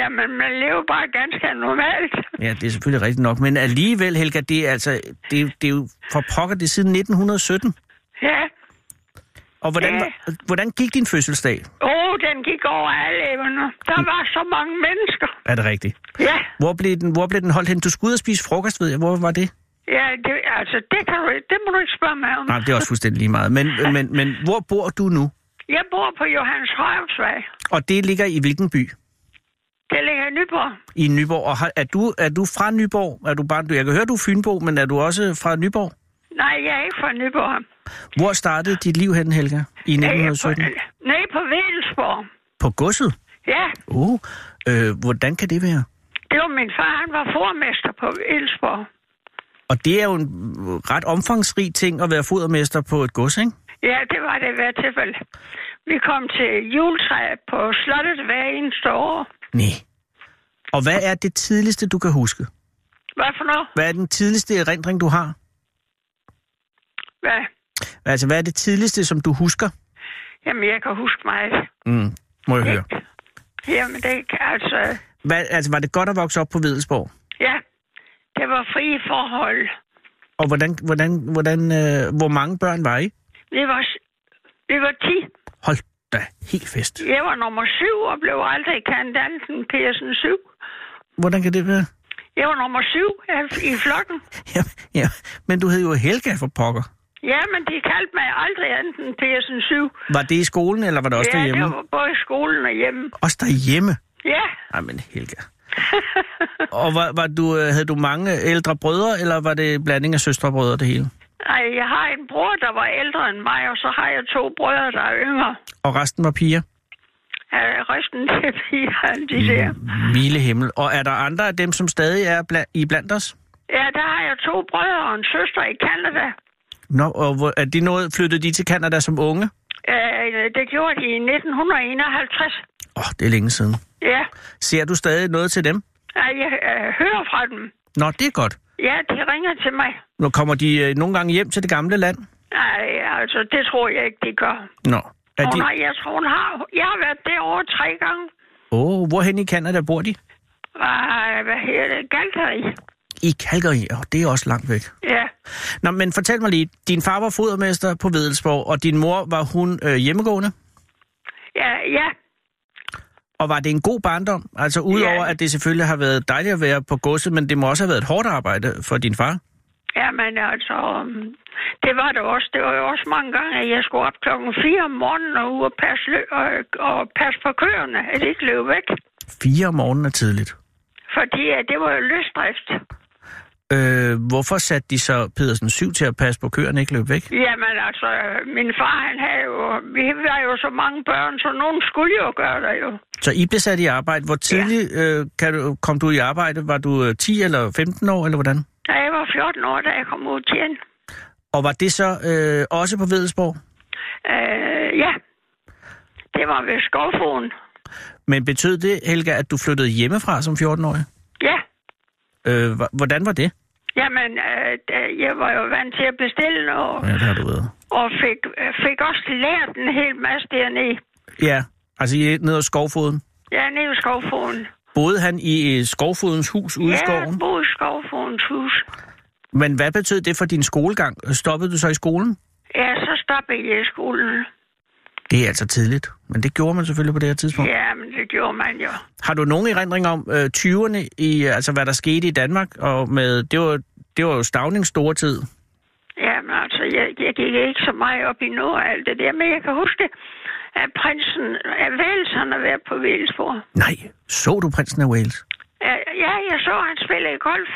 Speaker 7: Jamen, man lever bare ganske normalt.
Speaker 5: Ja, det er selvfølgelig rigtigt nok, men alligevel, Helga, det er altså, det, er- det er jo for pokker, det er siden 1917.
Speaker 7: Ja.
Speaker 5: Og hvordan,
Speaker 7: Ja.
Speaker 5: var- hvordan gik din fødselsdag?
Speaker 7: Åh, oh, den gik over alle evner. Der var så mange mennesker.
Speaker 5: Er det rigtigt?
Speaker 7: Ja,
Speaker 5: Hvor blev den, hvor blev den holdt hen? Du skulle ud og spise frokost, ved jeg. Hvor var det?
Speaker 7: ja det, altså, det, kan du, ikke- det må du ikke spørge mig om.
Speaker 5: Nej, det er også fuldstændig lige meget. Men, men, men hvor bor du nu?
Speaker 7: Jeg bor på Johannes Højhusvej.
Speaker 5: Og det ligger i hvilken by?
Speaker 7: Det ligger i Nyborg.
Speaker 5: I Nyborg. Og har, er, du, er du fra Nyborg? Er du bare, du- jeg kan høre, du er Fynbo, men er du også fra Nyborg?
Speaker 7: Nej, jeg er ikke fra Nyborg.
Speaker 5: Hvor startede dit liv hen, Helga? I
Speaker 7: Jeg er
Speaker 5: 1917?
Speaker 7: på- Nej, på Vedelsborg.
Speaker 5: På godset?
Speaker 7: Ja,
Speaker 5: Uh, øh, hvordan kan det være?
Speaker 7: det var min far. Han var formester på Vedelsborg.
Speaker 5: Og det er jo en ret omfangsrig ting at være fodermester på et gods, ikke?
Speaker 7: Ja, det var det i hvert tilfælde. Vi kom til juletræ på slottet hver eneste år.
Speaker 5: Nej. Og hvad er det tidligste, du kan huske?
Speaker 7: Hvad for noget?
Speaker 5: Hvad er den tidligste erindring, du har?
Speaker 7: Hvad?
Speaker 5: Altså, hvad er det tidligste, som du husker?
Speaker 7: Jamen, jeg kan huske meget.
Speaker 5: Mm. Må jeg høre.
Speaker 7: Jamen, det kan altså...
Speaker 5: Hvad, altså, var det godt at vokse op på Vedelsborg?
Speaker 7: Ja, det var frie forhold.
Speaker 5: Og hvordan, hvordan, hvordan, øh, hvor mange børn var I?
Speaker 7: Vi var, s- vi var 10.
Speaker 5: Hold da, helt fest.
Speaker 7: Jeg var nummer 7 og blev aldrig kendt anden Pearson 7.
Speaker 5: Hvordan kan det være?
Speaker 7: Jeg var nummer 7 i- i flokken.
Speaker 5: Ja, ja. Men du hed jo Helga for pokker.
Speaker 7: Ja, men de kaldte mig aldrig anden Pearson 7.
Speaker 5: Var det i skolen, eller var det også
Speaker 7: ja,
Speaker 5: derhjemme?
Speaker 7: det var både i skolen og hjemme.
Speaker 5: Også derhjemme?
Speaker 7: Ja,
Speaker 5: Ej, men Helga. og var, var du, øh, havde du mange ældre brødre, eller var det blanding af søstre og brødre det hele?
Speaker 7: Ej, jeg har en bror, der var ældre end mig, og så har jeg to brødre, der er yngre.
Speaker 5: Og resten var piger?
Speaker 7: Øh, Resten til piger, de der.
Speaker 5: Mile himmel. Og er der andre af dem, som stadig er bla- i blandt os?
Speaker 7: Ja, der har jeg to brødre og en søster i Canada.
Speaker 5: Nå, og hvor, er de noget, flyttede de til Canada som unge?
Speaker 7: Øh, Det gjorde de i 1951.
Speaker 5: Åh, oh, det er længe siden.
Speaker 7: Ja,
Speaker 5: Ser du stadig noget til dem?
Speaker 7: Ej, jeg øh, hører fra dem.
Speaker 5: Nå, det er godt.
Speaker 7: Ja, de ringer til mig.
Speaker 5: Nu kommer de øh, nogle gange hjem til det gamle land.
Speaker 7: Nej, altså, det tror jeg ikke, de gør.
Speaker 5: Nå. Er
Speaker 7: Hun
Speaker 5: de...
Speaker 7: har, jeg tror, hun har... Jeg har været derovre tre gange.
Speaker 5: Åh, oh, hvorhen i Canada bor de?
Speaker 7: Ej, hvad hedder det? Galteri.
Speaker 5: I Calgary. Åh, oh, det er også langt væk.
Speaker 7: Ja.
Speaker 5: Nå, men fortæl mig lige. Din far var fodermester på Vedelsborg, og din mor var hun øh, hjemmegående.
Speaker 7: Ja, ja.
Speaker 5: Og var det en god barndom? Altså udover,
Speaker 7: Ja.
Speaker 5: at det selvfølgelig har været dejligt at være på godset, men det må også have været et hårdt arbejde for din far.
Speaker 7: Jamen altså, øhm, det var det også. Det var jo også mange gange, at jeg skulle op klokken 4 om morgenen og ud og passe, lø- og, og passe på køerne, at de ikke løb væk.
Speaker 5: Fire om morgenen er tidligt.
Speaker 7: Fordi at det var jo løsdrift.
Speaker 5: Øh, hvorfor satte de så Pedersen 7 til at passe på køerne ikke løb væk?
Speaker 7: Jamen altså, øh, min far han havde jo, vi var jo så mange børn, så nogen skulle jo gøre det jo.
Speaker 5: Så I blev sat i arbejde. Hvor tidligt øh, kan du, kom du i arbejde? Var du øh, 10 eller 15 år, eller hvordan?
Speaker 7: Da jeg var 14 år, da jeg kom ud til hende.
Speaker 5: Og var det så øh, også på Vedelsborg?
Speaker 7: Øh, ja, det var ved skovfoden.
Speaker 5: Men betød det, Helga, at du flyttede hjemmefra som 14-årig?
Speaker 7: Ja,
Speaker 5: Øh, hva- hvordan var det?
Speaker 7: jamen øh, da- jeg var jo vant til at bestille noget.
Speaker 5: Ja, det har du været.
Speaker 7: og fik, fik også lært en hel masse dernede.
Speaker 5: Ja, altså I er nede hos skovfoden.
Speaker 7: Ja, nede i skovfoden.
Speaker 5: Boede han i øh, skovfodens hus ude i
Speaker 7: Ja,
Speaker 5: skoven?
Speaker 7: boede i skovfodens hus.
Speaker 5: Men hvad betød det for din skolegang? Stoppede du så i skolen?
Speaker 7: Ja, så stoppede jeg i skolen.
Speaker 5: Det er altså tidligt, men det gjorde man selvfølgelig på det her tidspunkt.
Speaker 7: Ja, men det gjorde man jo.
Speaker 5: Har du nogen erindring om øh, 20'erne, i, øh, altså hvad der skete i Danmark? Og med, det, var, det var jo Stavnings store tid.
Speaker 7: Jamen altså, jeg, jeg gik ikke så meget op i noget af alt det der, men jeg kan huske det, at prinsen af Wales, han har været på Valesborg.
Speaker 5: Nej, så du prinsen af Wales?
Speaker 7: Ja, ja, jeg så, han spillede golf.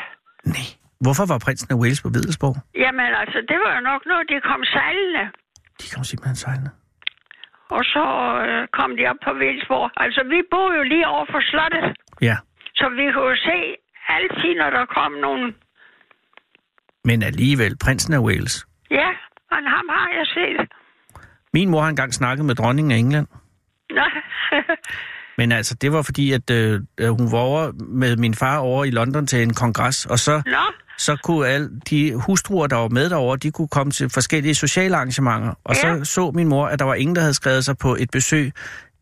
Speaker 5: Nej. Hvorfor var prinsen af Wales på Vedelsborg?
Speaker 7: Jamen altså, det var jo nok noget, de kom sejlende.
Speaker 5: De kom simpelthen sejlende.
Speaker 7: Og så øh, kom de op på Valesborg. Altså, vi boede jo lige over for slottet.
Speaker 5: Ja,
Speaker 7: Så vi kunne jo se altid, når der kom nogen.
Speaker 5: men alligevel, prinsen af Wales.
Speaker 7: Ja, men ham har jeg set.
Speaker 5: Min mor har engang snakket med dronningen af England.
Speaker 7: Nå.
Speaker 5: Men altså, det var fordi, at øh, øh, hun var over med min far over i London til en kongres, og så,
Speaker 7: Nå.
Speaker 5: så kunne alle de hustruer, der var med derovre, de kunne komme til forskellige sociale arrangementer. Og
Speaker 7: Ja.
Speaker 5: så så min mor, at der var ingen, der havde skrevet sig på et besøg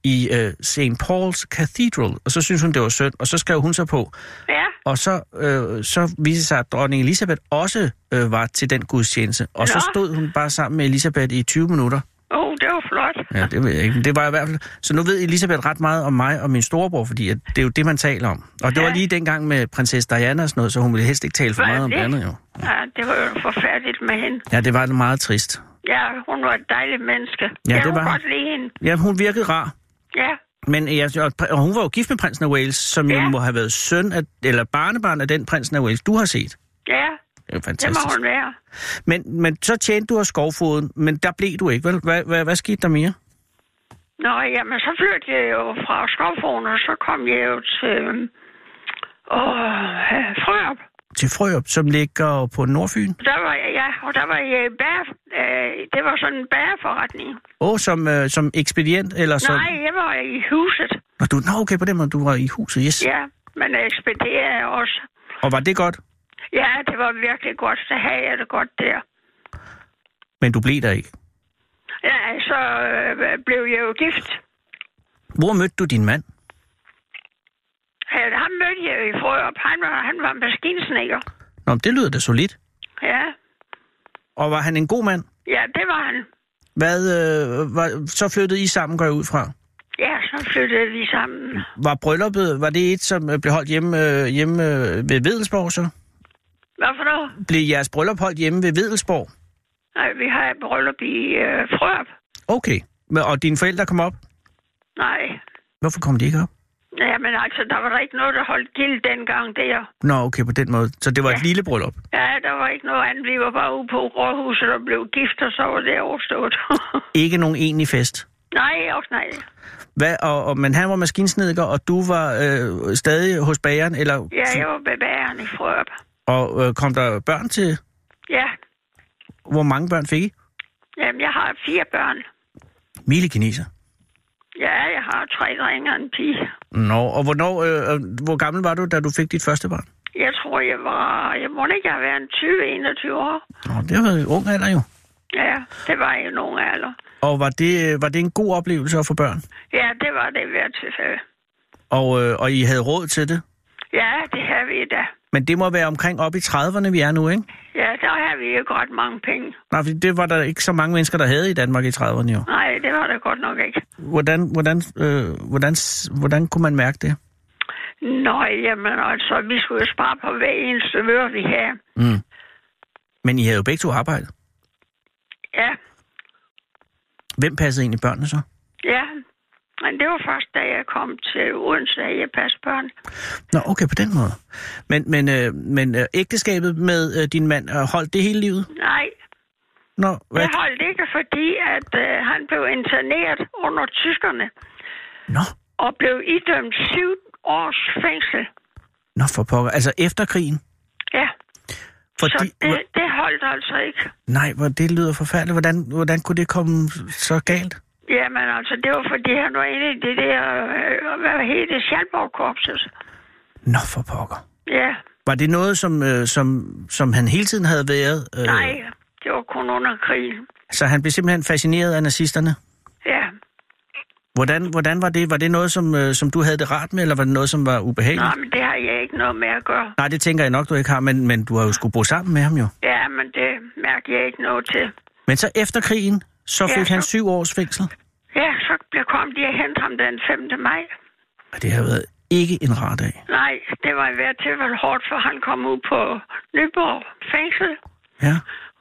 Speaker 5: i øh, St. Paul's Cathedral, og så synes hun, det var synd, og så skrev hun sig på.
Speaker 7: Ja,
Speaker 5: Og så, øh, så viste det sig, at dronning Elisabeth også øh, var til den gudstjeneste. Og så
Speaker 7: Nå.
Speaker 5: stod hun bare sammen med Elisabeth i 20 minutter.
Speaker 7: oh, det var flot.
Speaker 5: Ja, det ved jeg ikke. men Det var i hvert fald... Så nu ved Elisabeth ret meget om mig og min storebror, fordi at det er jo det, man taler om. Og det var
Speaker 7: Ja.
Speaker 5: lige dengang med prinsesse Diana og sådan noget, så hun ville helst ikke tale for
Speaker 7: Hvad er
Speaker 5: meget om det
Speaker 7: det?
Speaker 5: andet, jo.
Speaker 7: Ja, det var jo forfærdeligt med hende.
Speaker 5: Ja, det var meget trist.
Speaker 7: Ja, hun var et dejligt menneske.
Speaker 5: Ja,
Speaker 7: jeg
Speaker 5: det
Speaker 7: kunne
Speaker 5: var hun.
Speaker 7: godt lide hende.
Speaker 5: Ja, hun virkede rar.
Speaker 7: Ja,
Speaker 5: Men ja, og, og hun var jo gift med prinsen af Wales, som ja. jo
Speaker 7: Ja.
Speaker 5: må have været søn af, eller barnebarn af den prinsen af Wales, du har set.
Speaker 7: ja,
Speaker 5: Det er jo
Speaker 7: det må
Speaker 5: fantastisk.
Speaker 7: hun være.
Speaker 5: Men, men så tjente du af skovfoden, men der blev du ikke, vel? Hvad, hvad, hvad skete der mere?
Speaker 7: Nå, jamen, så flyttede jeg jo fra Skovfoglen, og så kom jeg jo til... øhm, Åh, øh, Frørup.
Speaker 5: Til Frøop, som ligger på Nordfyn.
Speaker 7: Der var jeg, ja, og der var jeg i bær, øh, det var sådan en bagerforretning.
Speaker 5: Åh, som, øh, som ekspedient, eller som...
Speaker 7: Nej, jeg var i huset.
Speaker 5: Nå, du, nå, okay, på den måde, du var i huset, yes.
Speaker 7: Ja, Men ekspederer jeg også.
Speaker 5: Og var det godt?
Speaker 7: Ja, det var virkelig godt. Så havde jeg det godt der.
Speaker 5: Men du blev der ikke.
Speaker 7: Ja, så øh, blev jeg jo gift.
Speaker 5: Hvor mødte du din mand?
Speaker 7: Han ham mødte jeg jo i Frørup. Han var, han var maskinsnækker.
Speaker 5: Nå, men det lyder da solidt.
Speaker 7: Ja.
Speaker 5: Og var han en god mand?
Speaker 7: ja, det var han.
Speaker 5: Hvad, øh, var, så flyttede I sammen, går jeg ud fra.
Speaker 7: Ja, så flyttede vi sammen.
Speaker 5: Var brylluppet, var det et, som øh, blev holdt hjemme, øh, hjemme øh, ved Vedelsborg så?
Speaker 7: Hvad for noget?
Speaker 5: Blev jeres bryllup holdt hjemme ved Vedelsborg?
Speaker 7: Nej, vi har et bryllup i øh, Frørup.
Speaker 5: Okay. Men- Og dine forældre kom op?
Speaker 7: Nej.
Speaker 5: Hvorfor kom de ikke op?
Speaker 7: Ja, men altså, der var der ikke noget, der holdt gild dengang der.
Speaker 5: Nå, okay, på den måde. Så det var ja. et lille bryllup.
Speaker 7: Ja, der var ikke noget andet. Vi var bare ude på rådhuset og blev gift, og så var det overstået.
Speaker 5: Ikke nogen egentlig fest.
Speaker 7: nej, også nej.
Speaker 5: Hvad, og, og, men han var maskinsnedker, og du var øh, stadig hos bageren, eller,
Speaker 7: Ja, jeg var med bageren i Frørup.
Speaker 5: og øh, kom der børn til?
Speaker 7: Ja,
Speaker 5: Hvor mange børn fik I?
Speaker 7: jamen, jeg har fire børn.
Speaker 5: Mille kineser.
Speaker 7: Ja, jeg har tre drenge og en pige.
Speaker 5: Nå, og hvornår, øh, øh, hvor gammel var du, da du fik dit første barn?
Speaker 7: Jeg tror, jeg var... Jeg må ikke have været en 20-21 år.
Speaker 5: Nå, det var jo ung alder jo.
Speaker 7: Ja, det var jeg nogen alder.
Speaker 5: Og var det, øh, var det en god oplevelse at få børn?
Speaker 7: Ja, det var det i hvert tilfælde.
Speaker 5: Og, øh, og I havde råd til det?
Speaker 7: Ja, det havde vi da.
Speaker 5: Men det må være omkring op i 30'erne, vi er nu, ikke?
Speaker 7: Ja, der havde vi jo godt mange penge.
Speaker 5: Nej, fordi det var der ikke så mange mennesker, der havde i Danmark i 30'erne jo.
Speaker 7: Nej, det var det godt nok ikke.
Speaker 5: Hvordan, hvordan, øh, hvordan, s- hvordan kunne man mærke det?
Speaker 7: Nå, jamen altså, vi skulle jo spare på hver eneste møre, vi havde.
Speaker 5: Mm. Men I havde jo begge to arbejde.
Speaker 7: Ja,
Speaker 5: Hvem passede egentlig børnene så?
Speaker 7: ja. Men det var først, da jeg kom til Odense, at jeg passede børn.
Speaker 5: Nå, okay, på den måde. Men, men, øh, men øh, ægteskabet med øh, din mand, øh, holdt det hele livet?
Speaker 7: Nej,
Speaker 5: Nå, hvad?
Speaker 7: det holdt ikke, fordi at øh, han blev interneret under tyskerne
Speaker 5: Nå,
Speaker 7: og blev idømt syv års fængsel.
Speaker 5: nå for pokker. Altså efter krigen?
Speaker 7: Ja,
Speaker 5: Fordi,
Speaker 7: så det, det holdt altså ikke.
Speaker 5: Nej, hvor det lyder forfærdeligt. Hvordan, hvordan kunne det komme så galt?
Speaker 7: Jamen altså, det var fordi, han var inde i det der, øh, hvad hedder det, Schalborg-korpset.
Speaker 5: Nå for pokker.
Speaker 7: Ja,
Speaker 5: Var det noget, som, øh, som, som han hele tiden havde været? Øh,
Speaker 7: nej, det var kun under krigen.
Speaker 5: Så han blev simpelthen fascineret af nazisterne?
Speaker 7: Ja,
Speaker 5: Hvordan, hvordan var det? Var det noget, som, øh, som du havde det rart med, eller var det noget, som var ubehageligt?
Speaker 7: Nå, men det har jeg ikke noget med at gøre.
Speaker 5: Nej, det tænker jeg nok, du ikke har, men, men du har jo skulle bo sammen med ham jo.
Speaker 7: Ja, men det mærker jeg ikke noget til.
Speaker 5: Men så efter krigen, så
Speaker 7: Ja,
Speaker 5: fik han
Speaker 7: så-
Speaker 5: syv års fængsel.
Speaker 7: Ja, så blev- kom de og hentede ham den 5. maj.
Speaker 5: Og det har været ikke en rar dag.
Speaker 7: Nej, det var i hvert tilfælde hårdt, for han kom ud på Nyborg fængsel.
Speaker 5: Ja.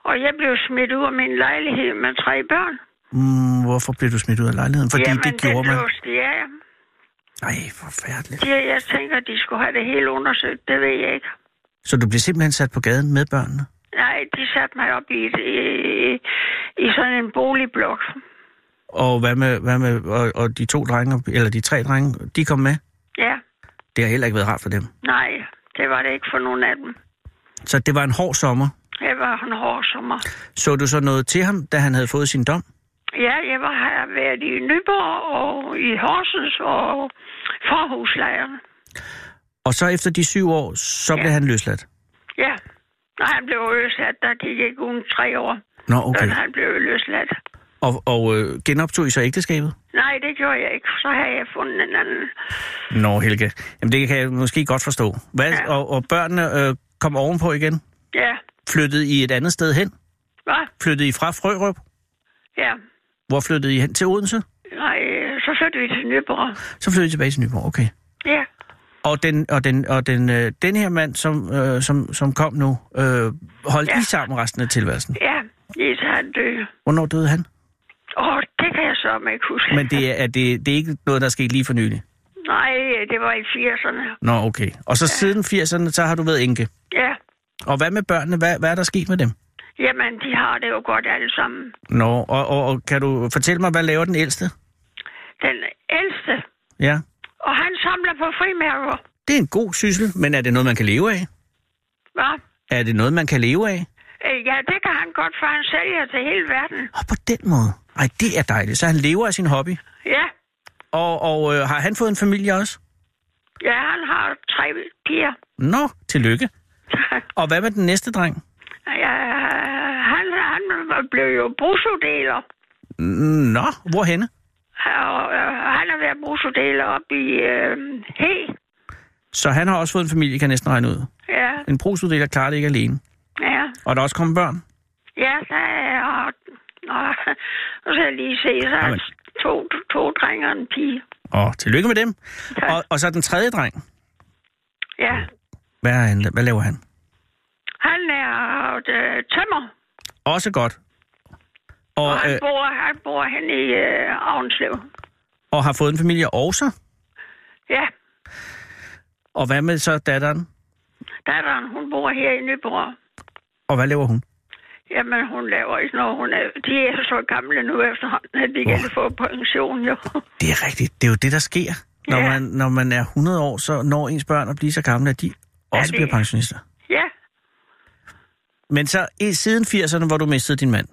Speaker 7: Og jeg blev smidt ud af min lejlighed med tre børn.
Speaker 5: Mm, hvorfor blev du smidt ud af lejligheden? Fordi
Speaker 7: Jamen,
Speaker 5: det gjorde
Speaker 7: det
Speaker 5: man.
Speaker 7: låste- Ja,
Speaker 5: Nej, forfærdeligt.
Speaker 7: de, jeg tænker, de skulle have det hele undersøgt. Det ved jeg ikke.
Speaker 5: Så du blev simpelthen sat på gaden med børnene?
Speaker 7: Nej, de satte mig op i, et, i, i- i sådan en boligblok.
Speaker 5: Og hvad med, hvad med og, og de to drenge, eller de tre drenge, de kom med?
Speaker 7: Ja,
Speaker 5: Det har heller ikke været rart for dem.
Speaker 7: nej, det var det ikke for nogen af dem.
Speaker 5: Så det var en hård sommer.
Speaker 7: Det var en hård sommer.
Speaker 5: Så du så noget til ham, da han havde fået sin dom?
Speaker 7: Ja, jeg var, har været i Nyborg og i Horsens og forhuslejren.
Speaker 5: Og så efter de syv år, så ja. blev han løsladt?
Speaker 7: Ja, når han blev løsladt, der gik ikke uden tre år,
Speaker 5: Nå,
Speaker 7: okay.
Speaker 5: okay.
Speaker 7: han blev løsladt.
Speaker 5: Og, og øh, genoptog I så ægteskabet?
Speaker 7: Nej, det gjorde jeg ikke. Så havde jeg fundet en anden.
Speaker 5: Nå, Helge. Jamen, det kan jeg måske godt forstå. Hvad, ja.
Speaker 7: Ja.
Speaker 5: og, og børnene øh, kom ovenpå igen?
Speaker 7: Ja,
Speaker 5: Flyttede I et andet sted hen?
Speaker 7: hvad?
Speaker 5: Flyttede I fra Frørup?
Speaker 7: Ja.
Speaker 5: Hvor flyttede I hen? Til Odense?
Speaker 7: Nej, så flyttede vi til Nyborg.
Speaker 5: Så flyttede I tilbage til Nyborg, okay.
Speaker 7: Ja,
Speaker 5: Og den, og den, og den, øh, den her mand, som, øh, som, som kom nu, øh, holdt ja.
Speaker 7: Ja.
Speaker 5: I sammen resten af tilværelsen?
Speaker 7: ja. Lige så han døde.
Speaker 5: Hvornår døde han?
Speaker 7: Åh, oh, det kan jeg så ikke huske.
Speaker 5: Men det er, er det, det er ikke noget, der er sket lige for nylig?
Speaker 7: Nej, det var i 80'erne.
Speaker 5: Nå, okay. Og så ja. siden 80'erne, så har du været enke.
Speaker 7: Ja,
Speaker 5: Og hvad med børnene? Hvad, hvad er der sket med dem?
Speaker 7: jamen, de har det jo godt alle sammen.
Speaker 5: Nå, og, og, og kan du fortælle mig, hvad laver den ældste?
Speaker 7: Den ældste,
Speaker 5: Ja.
Speaker 7: og han samler på frimærker.
Speaker 5: Det er en god syssel, men er det noget, man kan leve af?
Speaker 7: Hva?
Speaker 5: Er det noget, man kan leve af?
Speaker 7: Øh, Ja, det kan han godt, for han sælger til hele verden.
Speaker 5: Og på den måde. Ej, det er dejligt. Så han lever af sin hobby.
Speaker 7: Ja,
Speaker 5: Og, og øh, har han fået en familie også?
Speaker 7: ja han har tre tre piger.
Speaker 5: Nå, tillykke. Og hvad med den næste dreng?
Speaker 7: Ja, han, han blev jo brusodeler.
Speaker 5: Nå, hvorhenne?
Speaker 7: Og, øh, han har været brusodeler op i øh, He.
Speaker 5: Så han har også fået en familie, kan jeg næsten regne ud.
Speaker 7: Ja,
Speaker 5: En prosuddeler klarer det ikke alene.
Speaker 7: ja.
Speaker 5: Og der er også kommet børn.
Speaker 7: Ja, så er og, og, og så lige se, så
Speaker 5: Jamen.
Speaker 7: er to, to drenge og en pige.
Speaker 5: Og tillykke med dem.
Speaker 7: Tak.
Speaker 5: Og, og så den tredje dreng.
Speaker 7: Ja,
Speaker 5: Hvad, er han, hvad laver han?
Speaker 7: han er øh, tømmer,
Speaker 5: Også godt. Og,
Speaker 7: og han,
Speaker 5: øh,
Speaker 7: bor, han bor hen i øh, Avnslev.
Speaker 5: og har fået en familie også.
Speaker 7: Ja,
Speaker 5: Og hvad med så datteren?
Speaker 7: datteren, hun bor her i Nyborg.
Speaker 5: Og hvad laver hun?
Speaker 7: Jamen, hun laver ikke noget. Hun er, de er så gamle nu efterhånden, at de kan få pension, jo.
Speaker 5: Det er rigtigt. Det er jo det, der sker. Når,
Speaker 7: Ja.
Speaker 5: man, når man er 100 år, så når ens børn at blive så gamle, at de også
Speaker 7: det-
Speaker 5: bliver pensionister.
Speaker 7: Ja,
Speaker 5: Men så i- siden 80'erne, hvor du mistede din mand,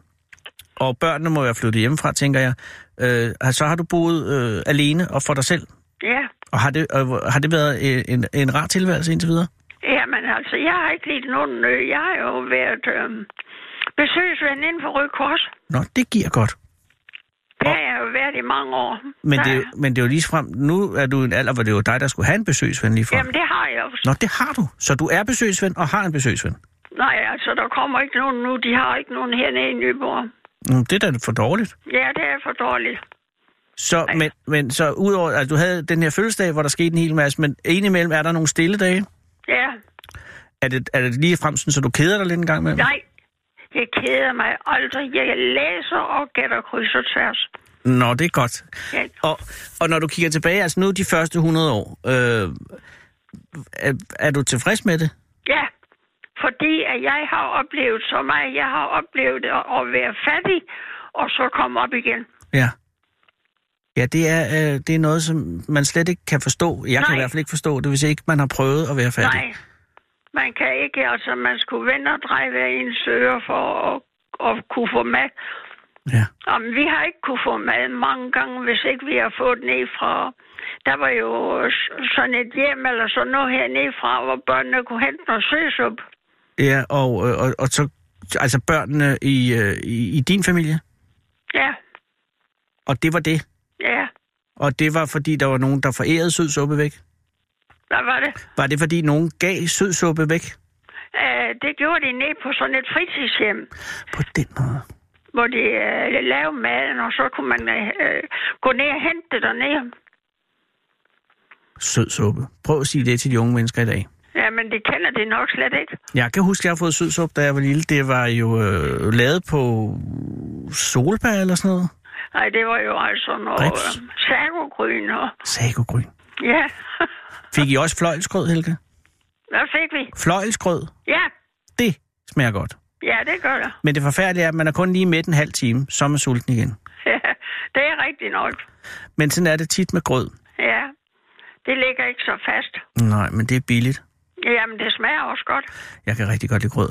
Speaker 5: og børnene må være flyttet hjemmefra, tænker jeg, øh, så har du boet øh, alene og for dig selv.
Speaker 7: ja.
Speaker 5: Og har det, øh, har det været øh, en, en rar tilværelse indtil videre?
Speaker 7: Jamen, altså, jeg har ikke lidt nogen... Øh, jeg har jo været øh, besøgsven inden for Røde Kors.
Speaker 5: Nå, det giver godt.
Speaker 7: Det har jeg jo været i mange år.
Speaker 5: Men, det, er
Speaker 7: Der-
Speaker 5: jo- men det er jo lige frem. Nu er du i en alder, hvor det var dig, der skulle have en besøgsven lige frem.
Speaker 7: Jamen, det har jeg jo.
Speaker 5: Nå, det har du. Så du er besøgsven og har en besøgsven.
Speaker 7: Nej, altså, der kommer ikke nogen nu. De har ikke nogen hernede i Nyborg.
Speaker 5: Mm, Det er da for dårligt.
Speaker 7: Ja, det er for dårligt.
Speaker 5: Så, men, men så udover, altså du havde den her fødselsdag, hvor der skete en hel masse, men indimellem er der nogle stille dage.
Speaker 7: Ja,
Speaker 5: Er det, er det lige frem sådan, så du keder dig lidt en gang imellem?
Speaker 7: nej. Jeg keder mig aldrig. Jeg læser og gætter kryds og tværs.
Speaker 5: Nå, det er godt.
Speaker 7: Ja.
Speaker 5: Og, og når du kigger tilbage, altså nu de første 100 år, øh, er, er du tilfreds med det?
Speaker 7: ja, fordi at jeg har oplevet så meget. Jeg har oplevet at at være fattig, og så komme op igen.
Speaker 5: Ja. Ja, det er, øh, det er noget, som man slet ikke kan forstå. Jeg kan
Speaker 7: Nej.
Speaker 5: i hvert fald ikke forstå det, hvis ikke man har prøvet at være fattig.
Speaker 7: Nej, man kan ikke. Altså, man skulle vende og dreje hver en søger for at, at kunne få mad.
Speaker 5: Ja.
Speaker 7: Jamen, vi har ikke kunne få mad mange gange, hvis ikke vi har fået ned fra... Der var jo s- sådan et hjem eller sådan noget hernede fra, hvor børnene kunne hente noget søsup.
Speaker 5: Ja, og, øh, og, og så altså børnene i, øh, i, i din familie,
Speaker 7: Ja,
Speaker 5: og det var det.
Speaker 7: ja.
Speaker 5: Og det var, fordi der var nogen, der forærede sødsuppe væk.
Speaker 7: Hvad var det?
Speaker 5: Var det, fordi nogen gav sødsuppe væk?
Speaker 7: Øh, det gjorde de ned på sådan et fritidshjem,
Speaker 5: På den måde.
Speaker 7: hvor de øh, lavede maden, og så kunne man øh, gå ned og hente det dernede.
Speaker 5: Sødsuppe. Prøv at sige det til de unge mennesker i dag.
Speaker 7: Ja, men det kender de nok slet ikke.
Speaker 5: Jeg kan huske, at jeg har fået sødsuppe, da jeg var lille. Det var jo øh, lavet på solbær eller sådan noget.
Speaker 7: Nej, det var jo altså noget
Speaker 5: Rips.
Speaker 7: øh, sagogryn og...
Speaker 5: Sagogryn.
Speaker 7: Ja,
Speaker 5: Fik I også fløjlsgrød, Helga?
Speaker 7: hvad fik vi?
Speaker 5: Fløjlsgrød,
Speaker 7: Ja,
Speaker 5: det smager godt.
Speaker 7: ja, det gør det.
Speaker 5: Men det forfærdelige er, at man er kun lige midt en halv time, så er man sulten igen.
Speaker 7: Ja, det er rigtigt nok.
Speaker 5: Men sådan er det tit med grød.
Speaker 7: Ja, det ligger ikke så fast.
Speaker 5: Nej, men det er billigt.
Speaker 7: Jamen, det smager også godt.
Speaker 5: Jeg kan rigtig godt lide grød.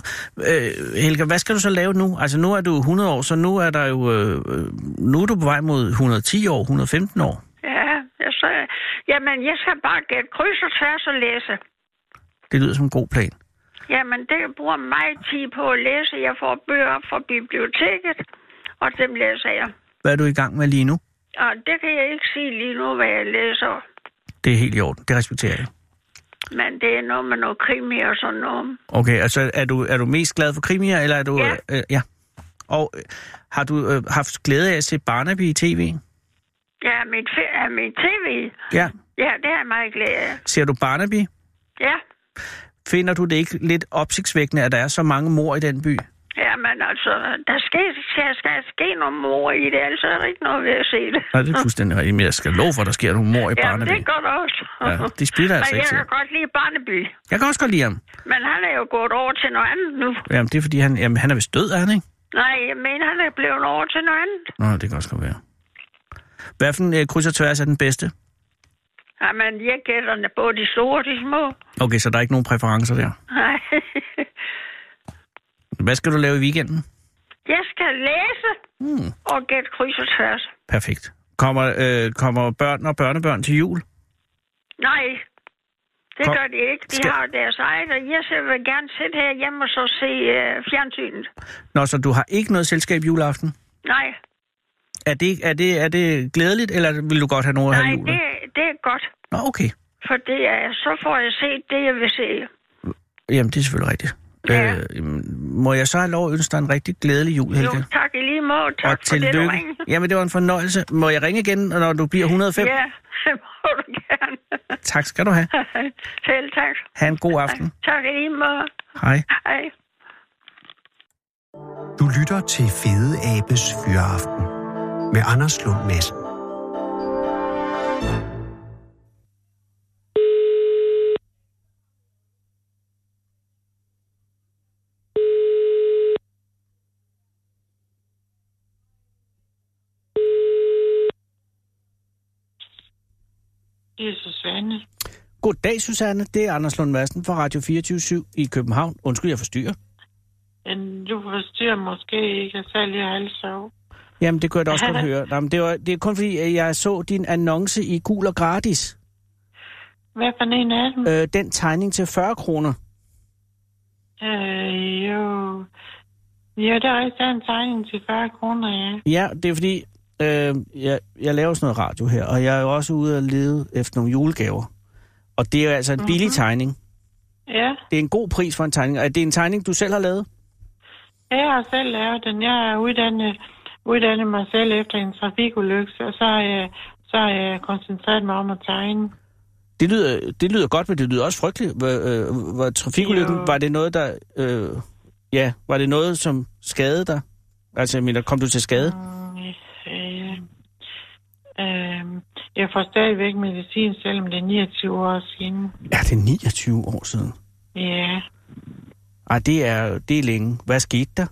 Speaker 5: Øh, Helga, hvad skal du så lave nu? Altså, nu er du 100 år, så nu er der jo... Øh, øh, nu er du på vej mod 110 år, 115 år.
Speaker 7: Ja, jeg så, jamen, jeg skal bare gætte kryds og tværs og læse.
Speaker 5: Det lyder som en god plan.
Speaker 7: Jamen, det bruger meget tid på at læse. Jeg får bøger op fra biblioteket, og dem læser jeg.
Speaker 5: Hvad er du i gang med lige nu?
Speaker 7: Og det kan jeg ikke sige lige nu, hvad jeg læser.
Speaker 5: Det er helt i orden. Det respekterer jeg.
Speaker 7: Men det er noget med noget krimi og sådan noget.
Speaker 5: Okay, altså, er du, er du mest glad for krimier, eller er du...
Speaker 7: Ja.
Speaker 5: Øh, ja. Og øh, har du øh, haft glæde af at se Barnaby i tv?
Speaker 7: Ja, mit, fe- ja, mit tv.
Speaker 5: Ja.
Speaker 7: Ja, det er jeg meget glad af.
Speaker 5: Ser du Barnaby?
Speaker 7: Ja.
Speaker 5: Finder du det ikke lidt opsigtsvækkende, at der er så mange mor i den by?
Speaker 7: Jamen altså, der skal, skal, skal ske nogle mor i det, altså er der ikke noget ved at se det.
Speaker 5: Nej, det er fuldstændig rigtigt, men jeg skal love for, at der sker nogle mor i
Speaker 7: Jamen,
Speaker 5: Barnaby.
Speaker 7: det gør der også.
Speaker 5: Ja, de spilder altså
Speaker 7: Men
Speaker 5: ikke
Speaker 7: jeg
Speaker 5: tid.
Speaker 7: kan godt lide Barneby,
Speaker 5: Jeg kan også godt lide ham.
Speaker 7: men han er jo gået over til noget andet nu.
Speaker 5: Jamen, det er fordi, han, jamen, han er vist død, er han ikke?
Speaker 7: Nej, jeg mener, han er blevet over til noget andet.
Speaker 5: Nå, det kan også godt være. Hvad for en øh, kryds og tværs er den bedste?
Speaker 7: Jamen, jeg gætter både de store og de små.
Speaker 5: Okay, så der er ikke nogen præferencer der.
Speaker 7: Nej.
Speaker 5: Hvad skal du lave i weekenden?
Speaker 7: Jeg skal læse
Speaker 5: Hmm,
Speaker 7: og gætte kryds og tværs.
Speaker 5: perfekt. Kommer, øh, kommer børn og børnebørn til jul?
Speaker 7: Nej, Det
Speaker 5: Kom.
Speaker 7: gør de ikke. De
Speaker 5: Skal-
Speaker 7: har deres eget, og jeg selv vil gerne sidde herhjemme og så se øh, fjernsynet.
Speaker 5: Nå, så du har ikke noget selskab juleaften?
Speaker 7: Nej,
Speaker 5: Er det, er det, er det glædeligt, eller vil du godt have noget at
Speaker 7: nej,
Speaker 5: have jul?
Speaker 7: det, det er godt.
Speaker 5: Nå, okay.
Speaker 7: For det er, så får jeg set det, jeg vil se.
Speaker 5: Jamen, det er selvfølgelig rigtigt.
Speaker 7: Ja.
Speaker 5: Øh, jamen, må jeg så have lov at ønske dig en rigtig glædelig jul, Helge?
Speaker 7: Jo, tak i lige måde. Tak for det, du ringede.
Speaker 5: Jamen, det var en fornøjelse. Må jeg ringe igen, når du bliver 105?
Speaker 7: Ja, det må du gerne.
Speaker 5: Tak skal du have.
Speaker 7: Selv tak.
Speaker 5: Ha' en god aften.
Speaker 7: Tak i lige måde.
Speaker 5: Hej.
Speaker 7: Hej.
Speaker 3: Du lytter til Fede Abes Fyraften med Anders Lund Madsen.
Speaker 8: Det er Susanne.
Speaker 5: Goddag, Susanne. Det er Anders Lund Madsen fra Radio 24 i København. Undskyld, jeg forstyrrer.
Speaker 8: Men du forstyrrer måske ikke, at sælge halvsov.
Speaker 5: Jamen, det kunne jeg da også godt høre. Jamen, det, var, det er kun fordi, at jeg så din annonce i Gul og Gratis.
Speaker 8: Hvad for en af dem?
Speaker 5: Øh, den tegning til 40 kroner.
Speaker 8: Øh, jo. Jo, der er også en tegning til 40 kroner, ja.
Speaker 5: Ja, det er fordi, øh, jeg, jeg laver sådan noget radio her, og jeg er jo også ude og lede efter nogle julegaver. Og det er jo altså en billig tegning.
Speaker 8: Mhm. Ja,
Speaker 5: Det er en god pris for en tegning. Er det en tegning, du selv har lavet?
Speaker 8: jeg har selv lavet den. Jeg har uddannet, uddannet mig selv efter en trafikulykke, og så har jeg, så har jeg koncentreret mig om at tegne.
Speaker 5: Det lyder, det lyder godt, men det lyder også frygteligt. Hvor, øh, var trafikulykken,
Speaker 8: Jo.
Speaker 5: var det noget, der... Øh, ja, var det noget, som skadede dig? Altså, jeg mener, kom du til skade?
Speaker 8: Mm, øh, øh, jeg får stadigvæk medicin, selvom det er 29 år siden.
Speaker 5: Ja, det er 29 år siden.
Speaker 8: Ja,
Speaker 5: Ej, det er, det er længe. Hvad skete der?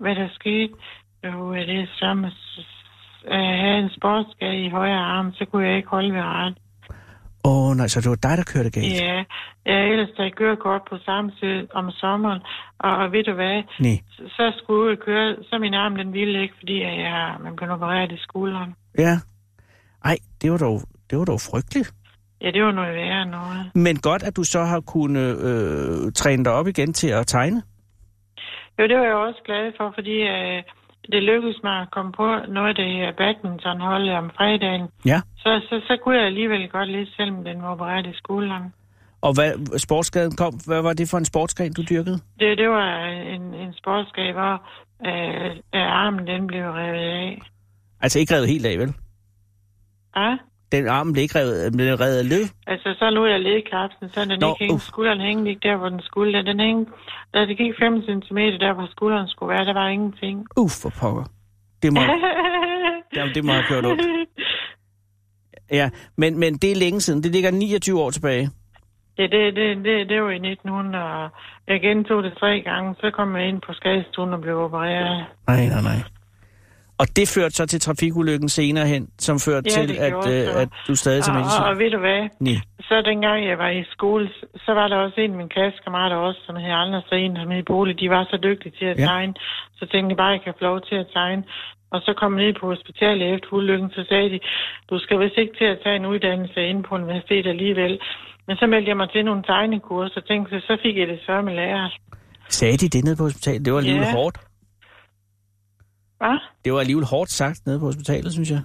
Speaker 8: hvad der skete, jo, at det er som at have en sportsskade i højre arm, så kunne jeg ikke holde ved ret.
Speaker 5: Åh, oh, nej, så det var dig, der kørte galt?
Speaker 8: Ja, jeg er ellers taget kørekort på Samsø om sommeren, og, og ved du hvad,
Speaker 5: Nej.
Speaker 8: så skulle jeg køre, så min arm den ville ikke, fordi at jeg, man kunne operere det i skulderen.
Speaker 5: Ja. Ej, det var dog, det var dog frygteligt.
Speaker 8: Ja, det var noget værre end noget.
Speaker 5: Men godt, at du så har kunnet øh, træne dig op igen til at tegne.
Speaker 8: Jo, det var jeg også glad for, fordi øh, det lykkedes mig at komme på noget af det her badmintonholdet om fredagen.
Speaker 5: Ja.
Speaker 8: Så, så, så kunne jeg alligevel godt lidt, selvom den var opereret i skulderen.
Speaker 5: Og hvad sportsskaden kom, hvad var det for en sportsgren, du dyrkede?
Speaker 8: Det, det var en, en sportsskab, hvor øh, øh, armen den blev revet af.
Speaker 5: Altså ikke revet helt af, vel?
Speaker 8: Ja?
Speaker 5: Den arm blev ikke revet, blev revet af løb.
Speaker 8: Altså, så lå jeg ledkapsen, så den
Speaker 5: Nå,
Speaker 8: Nå, ikke hængte.
Speaker 5: uff.
Speaker 8: Skulderen hængte ikke der, hvor den skulle. Da, den hængte, da det gik 5 cm der, hvor skulderen skulle være, der var ingenting.
Speaker 5: Uff, for pokker. Det må, jamen, det må have kørt op. Ja, men, men det er længe siden. Det ligger 29 år tilbage.
Speaker 8: ja, det, det, det, det var i 1900, og jeg gentog det tre gange. Så kom jeg ind på skadestuen og blev opereret.
Speaker 5: Nej, nej, nej. Og det førte så til trafikulykken senere hen, som førte
Speaker 8: Ja, Ah,
Speaker 5: til,
Speaker 8: det
Speaker 5: at,
Speaker 8: gjorde så.
Speaker 5: øh, at du stadig tager
Speaker 8: Og, og,
Speaker 5: medicin.
Speaker 8: og ved du hvad?
Speaker 5: Nej.
Speaker 8: Så dengang jeg var i skole, så var der også en af mine klassekammerater også, som hed Anders og en, som hed Bolig. De var så dygtige til at
Speaker 5: Ja.
Speaker 8: ja. tegne, så tænkte jeg bare, at jeg kan få lov til at tegne. Og så kom jeg ned på hospitalet efter ulykken, så sagde de, du skal vist ikke til at tage en uddannelse inde på universitetet alligevel. Men så meldte jeg mig til nogle tegnekurser, og tænkte, så fik jeg det sørme med lærer.
Speaker 5: Sagde de det nede på hospitalet? Det var alligevel
Speaker 8: Ja.
Speaker 5: hårdt.
Speaker 8: Hva?
Speaker 5: Det var alligevel hårdt sagt nede på hospitalet, synes jeg.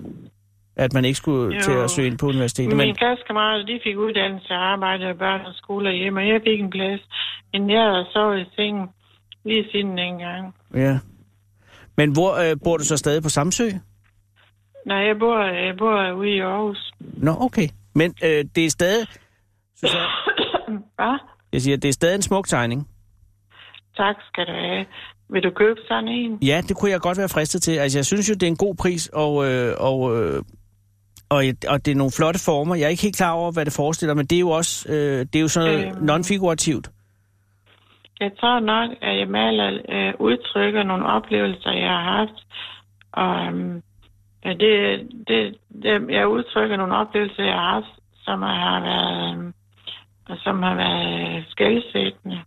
Speaker 5: At man ikke skulle
Speaker 8: Jo.
Speaker 5: til at søge ind på universitetet.
Speaker 8: Mine
Speaker 5: Men,
Speaker 8: klassekammerater, de fik uddannelse og arbejde og børn og skole og hjemme, og jeg fik en plads. Men jeg har sovet i sengen lige siden dengang.
Speaker 5: ja. men hvor øh, bor du så stadig på Samsø?
Speaker 8: Nej, jeg bor, jeg bor ude i Aarhus.
Speaker 5: Nå, okay. Men øh, det er stadig... Susanne,
Speaker 8: Hvad?
Speaker 5: jeg siger, det er stadig en smuk tegning.
Speaker 8: Tak skal du have. Vil du købe sådan en?
Speaker 5: Ja, det kunne jeg godt være fristet til. Altså, jeg synes jo, det er en god pris, og, øh, og, øh, og, et- og det er nogle flotte former. Jeg er ikke helt klar over, hvad det forestiller, men det er jo også øh, det er jo sådan noget
Speaker 8: Øhm.
Speaker 5: non-figurativt.
Speaker 8: Jeg tror nok, at jeg maler øh, udtrykker nogle oplevelser, jeg har haft. Og øhm, ja, det, det, det, jeg udtrykker nogle oplevelser, jeg har haft, som har været, øhm, som har været øh, skældsættende.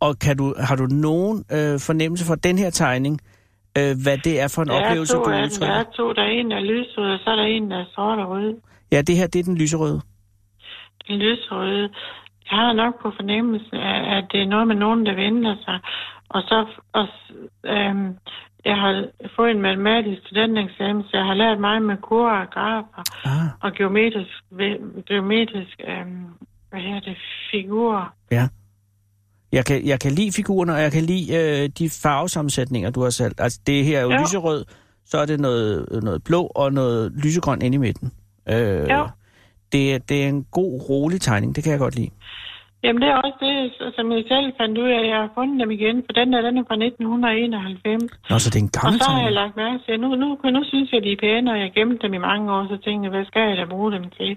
Speaker 5: Og kan du, har du nogen øh, fornemmelse for den her tegning, øh, hvad det er for en
Speaker 8: Der er
Speaker 5: oplevelse,
Speaker 8: to
Speaker 5: du
Speaker 8: af dem. Der
Speaker 5: udtrykker?
Speaker 8: er to. Der er en, der er lyserød, og så er der en, der er sort og rød.
Speaker 5: Ja, det her, det er den lyserøde.
Speaker 8: lyserøde. Jeg har nok på fornemmelsen, af, at det er noget med nogen, der vender sig. Og så, og, s- øhm, jeg har fået en matematisk studentereksamen, så jeg har lært meget med kurver og grafer
Speaker 5: Ah,
Speaker 8: og geometrisk, ve- geometrisk øhm, hvad hedder det, figurer.
Speaker 5: ja. Jeg kan, jeg kan lide figurerne, og jeg kan lide øh, de farvesammensætninger, du har sat. Altså, det her er jo ja.
Speaker 8: Ja.
Speaker 5: lyserød, så er det noget, noget blå og noget lysegrøn inde i midten. Øh,
Speaker 8: Ja.
Speaker 5: det, er- det er en god, rolig tegning, det kan jeg godt lide.
Speaker 8: Jamen, det er også det, s- som jeg selv fandt ud af. Jeg har fundet dem igen, for den der, den er fra 1991.
Speaker 5: Nå, så det er en
Speaker 8: Og
Speaker 5: gammel
Speaker 8: så har jeg
Speaker 5: tegning.
Speaker 8: lagt mærke til, at nu, nu, nu synes jeg, de er pæne, og jeg gemte dem i mange år, så tænkte jeg, hvad skal jeg da bruge dem til?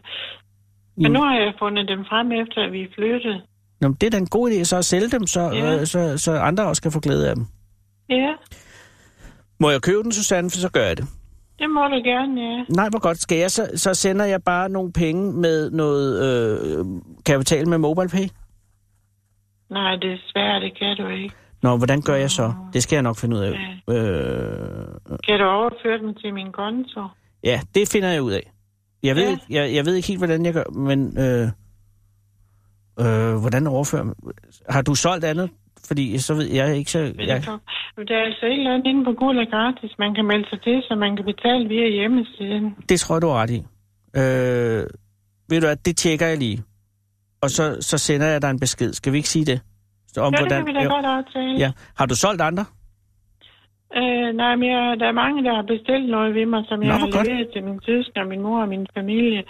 Speaker 8: Men
Speaker 5: Mm.
Speaker 8: nu har jeg fundet dem frem efter, at vi er flyttet.
Speaker 5: Nå, men det er da en god idé så at sælge dem, så,
Speaker 8: Ja.
Speaker 5: øh, så, så andre også kan få glæde af dem.
Speaker 8: Ja,
Speaker 5: Må jeg købe den, Susanne, for så gør jeg det.
Speaker 8: det må du gerne, ja.
Speaker 5: Nej, hvor godt skal jeg? Så, så sender jeg bare nogle penge med noget øh, kapital med MobilePay?
Speaker 8: Nej, desværre, det kan du ikke.
Speaker 5: Nå, hvordan gør jeg så? Det skal jeg nok finde ud af. Øh,
Speaker 8: Kan du overføre dem til min konto?
Speaker 5: ja, det finder jeg ud af. Jeg ved,
Speaker 8: Ja.
Speaker 5: ikke, jeg, jeg ved ikke helt, hvordan jeg gør, men øh, øh, hvordan overfører man? Har du solgt andet? Fordi så ved jeg ikke så... Jeg,
Speaker 8: Men Der er altså et eller andet inde på Gula Gratis, man kan melde sig til, så man kan betale via hjemmesiden.
Speaker 5: det tror jeg, du har ret i. Øh, ved du hvad, det tjekker jeg lige. Og så, så sender jeg dig en besked. Skal vi ikke sige det? Så Om
Speaker 8: Ja, det kan vi da
Speaker 5: jo.
Speaker 8: godt aftale.
Speaker 5: ja. Har du solgt andre?
Speaker 8: Øh, nej, men jeg, der er mange, der har bestilt noget ved mig, som
Speaker 5: Nå,
Speaker 8: jeg
Speaker 5: hvor
Speaker 8: har
Speaker 5: godt.
Speaker 8: leveret til min søster, min mor og min familie.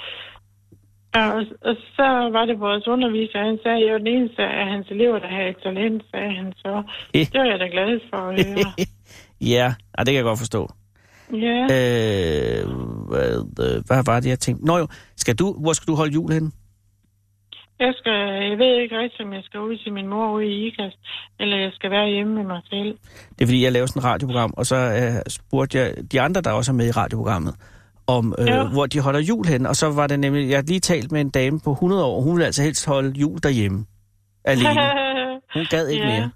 Speaker 8: Og, og så var det vores underviser, han sagde, at jeg var den eneste af hans elever, der havde talent, sagde han så.
Speaker 5: Eh.
Speaker 8: Det var jeg da glad for at høre.
Speaker 5: Ja, ah, det kan jeg godt forstå.
Speaker 8: Ja.
Speaker 5: Øh, hvad, øh, hvad var det, jeg tænkte? Nå jo, skal du, hvor skal du holde jul henne?
Speaker 8: Jeg, skal, jeg ved ikke rigtigt, om jeg skal ud til min mor ude i IKAST, eller jeg skal være hjemme med mig selv.
Speaker 5: Det er fordi, jeg laver sådan et radioprogram, og så øh, spurgte jeg de andre, der også er med i radioprogrammet, om øh,
Speaker 8: Ja.
Speaker 5: hvor de holder jul hen. Og så var det nemlig, jeg har lige talt med en dame på 100 år, hun ville altså helst holde jul derhjemme. Alene. Hun gad ikke
Speaker 8: Ja.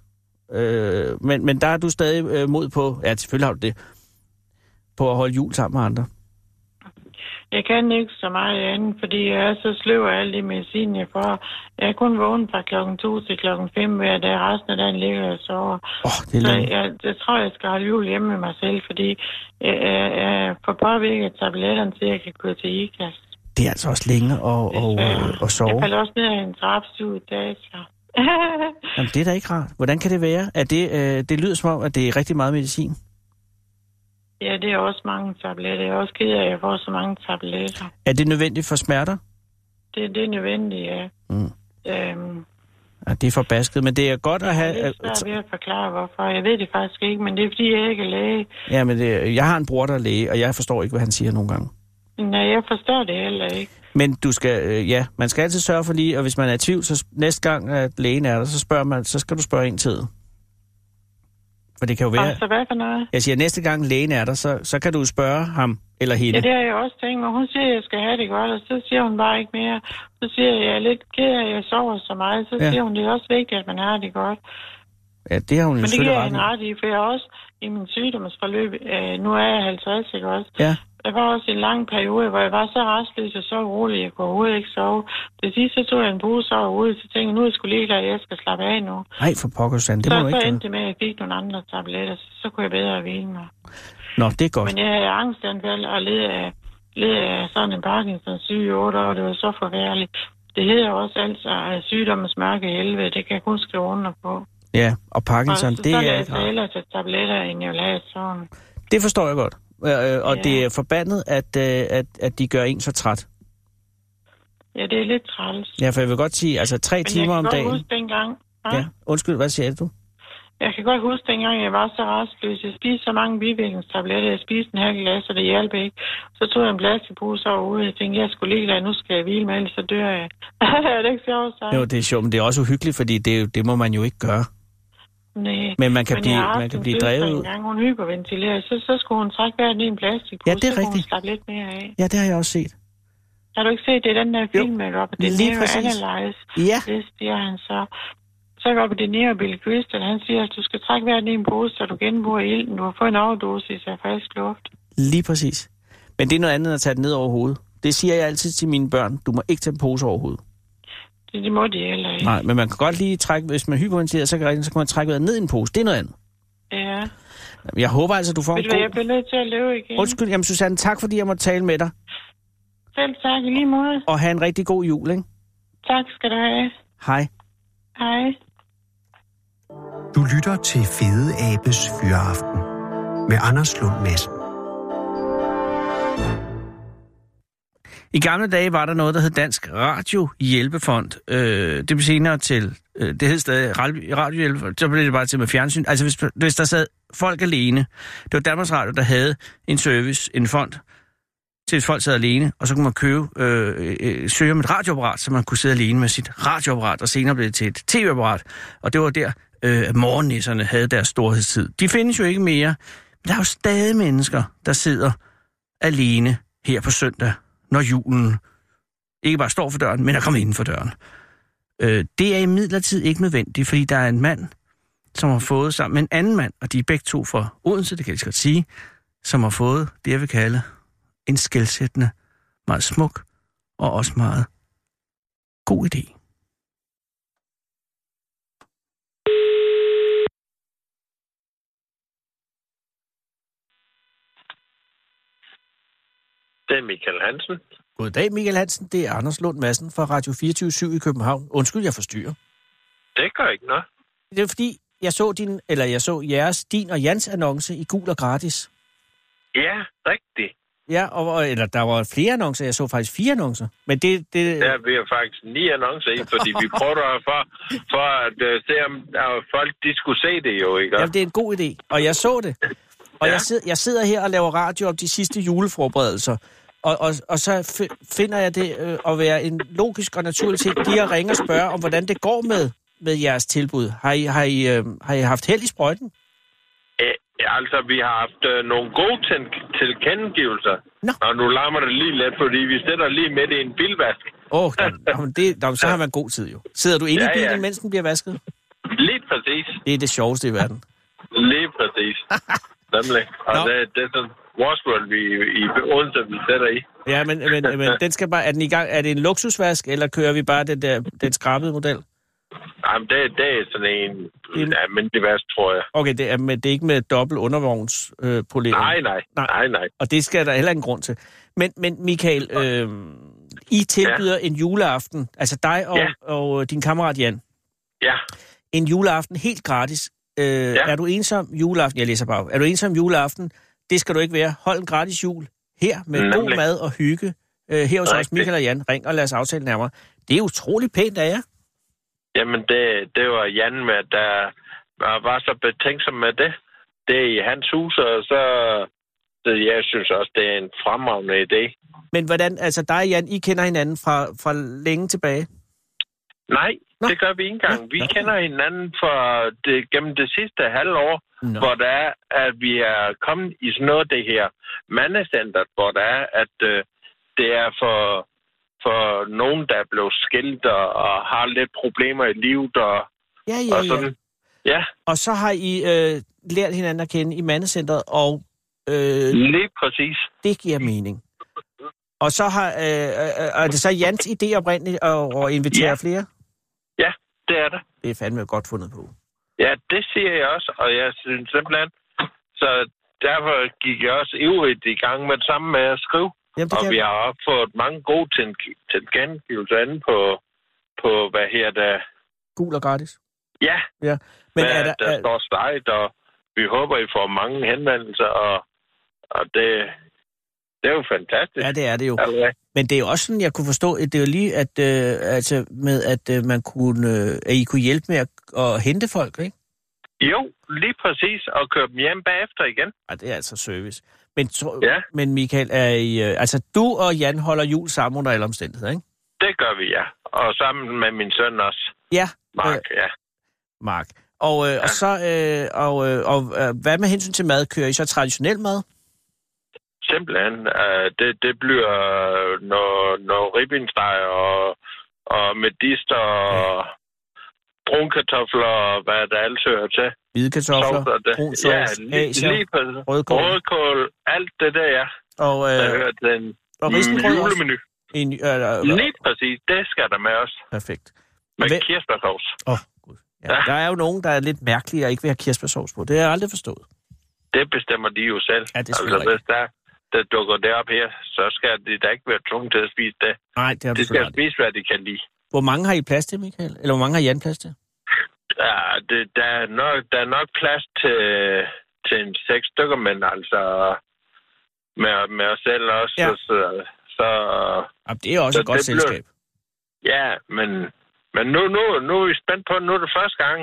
Speaker 5: mere. Øh, men, men der er du stadig øh, mod på, ja selvfølgelig har du det, på at holde jul sammen med andre.
Speaker 8: jeg kan ikke så meget andet, fordi jeg er så sløv af alt det medicin, jeg får. Jeg er kun vågen fra klokken 2 til klokken 5 hver dag. Resten af dagen ligger jeg og sover.
Speaker 5: Åh, oh, det er
Speaker 8: Så
Speaker 5: langt.
Speaker 8: jeg, jeg tror, jeg skal holde jul hjemme med mig selv, fordi jeg, jeg, jeg får påvirket af tabletterne til, at jeg kan gå til IKAST.
Speaker 5: Det er altså også længe at, og, øh, at
Speaker 8: Jeg
Speaker 5: sove.
Speaker 8: faldt også ned af en trappestue i dag, så.
Speaker 5: Jamen, det er da ikke rart. Hvordan kan det være? Er det, øh, det lyder som om, at det er rigtig meget medicin.
Speaker 8: ja, det er også mange tabletter. Jeg er også ked af, at jeg får så mange tabletter.
Speaker 5: Er det nødvendigt for smerter?
Speaker 8: Det, det er nødvendigt, ja.
Speaker 5: Mm.
Speaker 8: Øhm,
Speaker 5: Ja, det er forbasket, men det er godt at
Speaker 8: det
Speaker 5: have...
Speaker 8: er svært ved at forklare, hvorfor. Jeg ved det faktisk ikke, men det er, fordi jeg ikke er læge.
Speaker 5: Ja, men det, jeg har en bror, der er læge, og jeg forstår ikke, hvad han siger nogle gange.
Speaker 8: Nej, jeg forstår det heller ikke.
Speaker 5: Men du skal, øh, ja, man skal altid sørge for lige, og hvis man er i tvivl, så s- næste gang, at lægen er der, så, spørger man, så skal du spørge en tid. For det kan jo være...
Speaker 8: Altså, hvad for noget?
Speaker 5: Jeg siger, næste gang lægen er der, så, så kan du spørge ham eller hende.
Speaker 8: Ja, det har jeg også tænkt mig. Hun siger, at jeg skal have det godt, og så siger hun bare ikke mere. Så siger jeg, at jeg er lidt ked af, at jeg sover så meget. Så
Speaker 5: Ja.
Speaker 8: ja. siger hun, det er også vigtigt, at man har det godt.
Speaker 5: ja, det har hun jo
Speaker 8: Men det giver
Speaker 5: selvfølgelig
Speaker 8: jeg
Speaker 5: ret
Speaker 8: en
Speaker 5: i.
Speaker 8: ret i, for jeg har også i min sygdomsforløb, øh, nu er jeg 50, ikke også?
Speaker 5: Ja.
Speaker 8: Jeg var også i en lang periode, hvor jeg var så restløs og så urolig, jeg kunne overhovedet ikke sove. Det sidste, så tog jeg en pose overhovedet, så tænkte jeg, nu er jeg sgu ligeglad, jeg skal slappe af nu.
Speaker 5: Nej, for pokker, Susanne, det må
Speaker 8: så,
Speaker 5: du ikke
Speaker 8: så
Speaker 5: gøre.
Speaker 8: endte det med, at jeg fik nogle andre tabletter, så, så kunne jeg bedre hvile mig.
Speaker 5: Nå, det er godt.
Speaker 8: Men jeg havde angstanfald og led af, led af sådan en Parkinsons syge i otte år. Det var så forfærdeligt. Det hedder også altså øh, sygdommens mørke helvede. Det kan jeg kun skrive under på.
Speaker 5: Ja, og
Speaker 8: Og
Speaker 5: Parkinson,
Speaker 8: så,
Speaker 5: det
Speaker 8: så
Speaker 5: er
Speaker 8: jeg
Speaker 5: ikke rart.
Speaker 8: ellers at tabletter, end jeg vil have sådan.
Speaker 5: Det forstår jeg godt. Øh, øh, og
Speaker 8: Ja.
Speaker 5: det er forbandet, at, øh, at, at de gør en så træt.
Speaker 8: Ja, det er lidt træls.
Speaker 5: Ja, for jeg vil godt sige, altså tre
Speaker 8: jeg
Speaker 5: timer
Speaker 8: kan
Speaker 5: om
Speaker 8: godt
Speaker 5: dagen.
Speaker 8: huske dengang. Ja?
Speaker 5: Ja, undskyld, hvad siger du?
Speaker 8: Jeg kan godt huske dengang, jeg var så restløs. Jeg spiste så mange bivirkningstabletter. Jeg spiste en halv glas, og det hjalp ikke. Så tog jeg en plastikpose overhovedet. Jeg tænkte, jeg skulle ligeglad. Nu skal jeg hvile mig, ellers så dør jeg. er det ikke sjovt sagt?
Speaker 5: Jo, det er sjovt, men det er også uhyggeligt, fordi det, er jo- det må man jo ikke gøre.
Speaker 8: Nej.
Speaker 5: Men man kan
Speaker 8: Men øh, jeg
Speaker 5: blive,
Speaker 8: har haft
Speaker 5: man kan
Speaker 8: en
Speaker 5: blive
Speaker 8: søster
Speaker 5: drevet ud.
Speaker 8: engang, hun hyperventilerede, så, så skulle hun trække hver ned i en plastikpose,
Speaker 5: Ja, det er
Speaker 8: så kunne hun
Speaker 5: rigtigt.
Speaker 8: slappe lidt mere af.
Speaker 5: Ja, det har jeg også set.
Speaker 8: Har du ikke set det, er den der film med Robert De
Speaker 5: lige
Speaker 8: Niro
Speaker 5: præcis.
Speaker 8: Analyze?
Speaker 5: Ja,
Speaker 8: Det siger han så. Så er Robert De Niro og Bill Crystal, han siger, at du skal trække hver ned i en pose, så du genbruger ilten. Du har fået en overdosis af frisk luft.
Speaker 5: lige
Speaker 8: Mm.
Speaker 5: præcis. Men det er noget andet end at tage det ned over hovedet. Det siger jeg altid til mine børn. Du må ikke tage en pose over hovedet.
Speaker 8: Det, det må de heller ikke.
Speaker 5: Nej, men man kan godt lige trække, hvis man hyperventilerer, så kan, så kan man trække vejret ned i en pose. Det er noget andet.
Speaker 8: Ja.
Speaker 5: Jeg håber altså, du får
Speaker 8: Ved
Speaker 5: en
Speaker 8: du hvad, jeg
Speaker 5: god...
Speaker 8: bliver nødt til at løbe igen.
Speaker 5: Undskyld, jamen Susanne, tak fordi jeg måtte tale med dig.
Speaker 8: Selv tak i lige måde.
Speaker 5: Og have en rigtig god jul, ikke?
Speaker 8: Tak skal du have.
Speaker 5: Hej.
Speaker 8: Hej.
Speaker 3: Du lytter til Fede Abes Fyraften med Anders Lund Madsen.
Speaker 5: I gamle dage var der noget, der hed Dansk Radio Hjælpefond. Øh, det blev senere til, øh, det hed stadig Ral- Radio Hjælpefond, så blev det bare til med fjernsyn. Altså hvis, hvis der sad folk alene, det var Danmarks Radio, der havde en service, en fond, til hvis folk sad alene, og så kunne man købe, øh, øh, søge om et radioapparat, så man kunne sidde alene med sit radioapparat, og senere blev det til et tv-apparat. Og det var der, øh, at morgennisserne havde deres storhedstid. De findes jo ikke mere, men der er jo stadig mennesker, der sidder alene her på søndag, når julen ikke bare står for døren, men er kommet inden for døren. Øh, det er imidlertid ikke nødvendigt, fordi der er en mand, som har fået sammen med en anden mand, og de er begge to fra Odense, det kan jeg lige så godt sige, som har fået det, jeg vil kalde en skældsættende, meget smuk og også meget god idé.
Speaker 9: Det er Michael Hansen.
Speaker 5: Goddag, Michael Hansen. Det er Anders Lund Madsen fra Radio 24 i København. Undskyld, jeg forstyrrer.
Speaker 9: Det gør ikke noget.
Speaker 5: Det er fordi, jeg så, din, eller jeg så jeres, din og Jans annonce i Gul og Gratis.
Speaker 9: Ja, rigtigt.
Speaker 5: Ja, og, og- eller der var flere annoncer. Jeg så faktisk fire annoncer. Men det, det,
Speaker 9: Der er vi jo faktisk ni annoncer i, fordi vi prøver for, for at uh, se, om uh, folk de skulle se det jo, ikke?
Speaker 5: Jamen, det er en god idé. Og jeg så det. Og ja.
Speaker 9: Ja.
Speaker 5: jeg, sidder, jeg sidder her og laver radio om de sidste juleforberedelser. Og, og, og så fi- finder jeg det øh, at være en logisk og naturlig ting, lige at ringe og spørge om, hvordan det går med, med jeres tilbud. Har I, har, I, øh, har I haft held i sprøjten?
Speaker 9: Æ, altså, vi har haft uh, nogle gode til- tilkendegivelser.
Speaker 5: Nå.
Speaker 9: Og nu larmer det lige lidt, fordi vi sætter lige midt i en bilvask.
Speaker 5: Åh, oh, jamen, det, jamen, så har man god tid jo. Sidder du inde
Speaker 9: Ja,
Speaker 5: i bilen,
Speaker 9: ja.
Speaker 5: mens den bliver vasket?
Speaker 9: Lige præcis.
Speaker 5: Det er det sjoveste i verden.
Speaker 9: Lige præcis. Nemlig. Og
Speaker 5: Nå.
Speaker 9: det, det er sådan Washburn, vi i Odense, vi sætter i.
Speaker 5: Ja, men, men, men den skal bare, er, den i gang, er det en luksusvask, eller kører vi bare den, der, den skrabede model?
Speaker 9: Jamen, det, det er sådan en,
Speaker 5: En-
Speaker 9: en almindelig vask, tror jeg.
Speaker 5: Okay, det er, men det er ikke med dobbelt undervognspolering? Øh, polering.
Speaker 9: Nej, nej.
Speaker 5: Nej.
Speaker 9: Nej, nej.
Speaker 5: Og det skal der heller ingen grund til. Men, men Michael, øh, I tilbyder ja. en juleaften, altså dig og, ja.
Speaker 9: Ja.
Speaker 5: og øh, din kammerat Jan,
Speaker 9: Ja.
Speaker 5: en juleaften helt gratis. Øh, ja. Er du ensom juleaften? Jeg læser bare. Er du ensom juleaften? Det skal du ikke være. Hold en gratis jul her med Nemlig. god
Speaker 9: Nemlig.
Speaker 5: mad og hygge. Øh, her hos os,
Speaker 9: Rigtigt.
Speaker 5: Michael og Jan. Ring og lad os aftale nærmere. Det er utrolig pænt af jer.
Speaker 9: Jamen, det, det var Jan med, der var- var så betænksom med det. Det er i hans hus, og så... så jeg synes også, det er en fremragende idé.
Speaker 5: Men hvordan, altså dig og Jan, I kender hinanden fra, fra længe tilbage.
Speaker 9: Nej,
Speaker 5: Nå.
Speaker 9: Nå. det gør vi ikke engang. Vi
Speaker 5: Nå.
Speaker 9: kender hinanden for det, gennem det sidste halvår,
Speaker 5: Nå.
Speaker 9: hvor der er, at vi er kommet i sådan noget af det her mandestandard, hvor der er, at øh, det er for, for nogen, der er blevet skilt og, og har lidt problemer i livet og,
Speaker 5: Ja,
Speaker 9: og
Speaker 5: ja, ja.
Speaker 9: sådan. Ja,
Speaker 5: Og så har I øh, lært hinanden at kende i mandecenteret, og øh,
Speaker 9: lige præcis.
Speaker 5: Det giver mening. Og så har, øh, øh, øh, er det så Jans idé oprindeligt at, at invitere ja.
Speaker 9: Ja.
Speaker 5: flere?
Speaker 9: Ja, det er det.
Speaker 5: Det er fandme godt fundet på.
Speaker 9: Ja, det siger jeg også, og jeg synes simpelthen, så derfor gik jeg også ivrigt i gang med det samme med at skrive.
Speaker 5: Jamen, det
Speaker 9: Og
Speaker 5: kan
Speaker 9: vi
Speaker 5: jeg-
Speaker 9: har også fået mange gode til- tilkendegivelser inde på, på, hvad her der...
Speaker 5: Gul og gratis.
Speaker 9: Ja,
Speaker 5: Men
Speaker 9: hvad
Speaker 5: er der,
Speaker 9: der
Speaker 5: er,
Speaker 9: står stejt, og vi håber, I får mange henvendelser, og, og det, det er jo fantastisk.
Speaker 5: ja, det er det jo.
Speaker 9: Allerede.
Speaker 5: Men det er jo også sådan, jeg kunne forstå, at det er jo lige, at, øh, altså, med, at, øh, man kunne, øh, at I kunne hjælpe med at, at hente folk, ikke?
Speaker 9: Jo, lige præcis, og købe dem hjem bagefter igen.
Speaker 5: Ja, det er altså service. Men, tro, ja.
Speaker 9: Ja.
Speaker 5: men Michael, er I, øh, altså, du og Jan holder jul sammen under alle omstændigheder, ikke?
Speaker 9: Det gør vi, ja. Og sammen med min søn også,
Speaker 5: Ja,
Speaker 9: Mark, ja.
Speaker 5: Mark. Og, øh, ja. og så, øh, og, øh, og øh, hvad med hensyn til mad? Kører I så traditionel mad?
Speaker 9: Simpelthen. Uh, det, det bliver øh, noget, noget ribbensteg og, og medister og brunkartofler og hvad der ellers hører til.
Speaker 5: Hvide kartofler,
Speaker 9: Sovs og det.
Speaker 5: brun sovs,
Speaker 9: ja,
Speaker 5: ja,
Speaker 9: lige,
Speaker 5: asier,
Speaker 9: lige præcis.
Speaker 5: rødkål.
Speaker 9: Rødkål, alt det der, ja.
Speaker 5: og,
Speaker 9: Der
Speaker 5: øh,
Speaker 9: hører til en
Speaker 5: og
Speaker 9: mm,
Speaker 5: risengrød også.
Speaker 9: julemenu.
Speaker 5: En, øh, øh,
Speaker 9: Lige præcis, det skal der med os.
Speaker 5: perfekt.
Speaker 9: Med
Speaker 5: Hvem-
Speaker 9: kirsebærsovs.
Speaker 5: Åh, oh, gud. Ja,
Speaker 9: Ja.
Speaker 5: der er jo nogen, der er lidt mærkelige og ikke vil have kirsebærsovs på. Det har jeg aldrig forstået.
Speaker 9: Det bestemmer de jo selv.
Speaker 5: Ja, det er
Speaker 9: altså,
Speaker 5: selvfølgelig
Speaker 9: hvis der, der dukker det op her, så skal de da ikke være tvunget til at spise det.
Speaker 5: Nej, det har du
Speaker 9: De skal
Speaker 5: selvfølgelig aldrig.
Speaker 9: spise, hvad de kan lide.
Speaker 5: Hvor mange har I plads til, Michael? Eller hvor mange har Jan plads til?
Speaker 9: Ja, det, der, er nok, der er nok plads til, til en seks stykker, men altså med, med os selv også.
Speaker 5: Ja.
Speaker 9: Ja. Så, så, så,
Speaker 5: Jamen, det er også
Speaker 9: Så
Speaker 5: et godt
Speaker 9: det blev-
Speaker 5: selskab.
Speaker 9: ja, men, men nu, nu, nu er vi spændt på, nu er det første gang,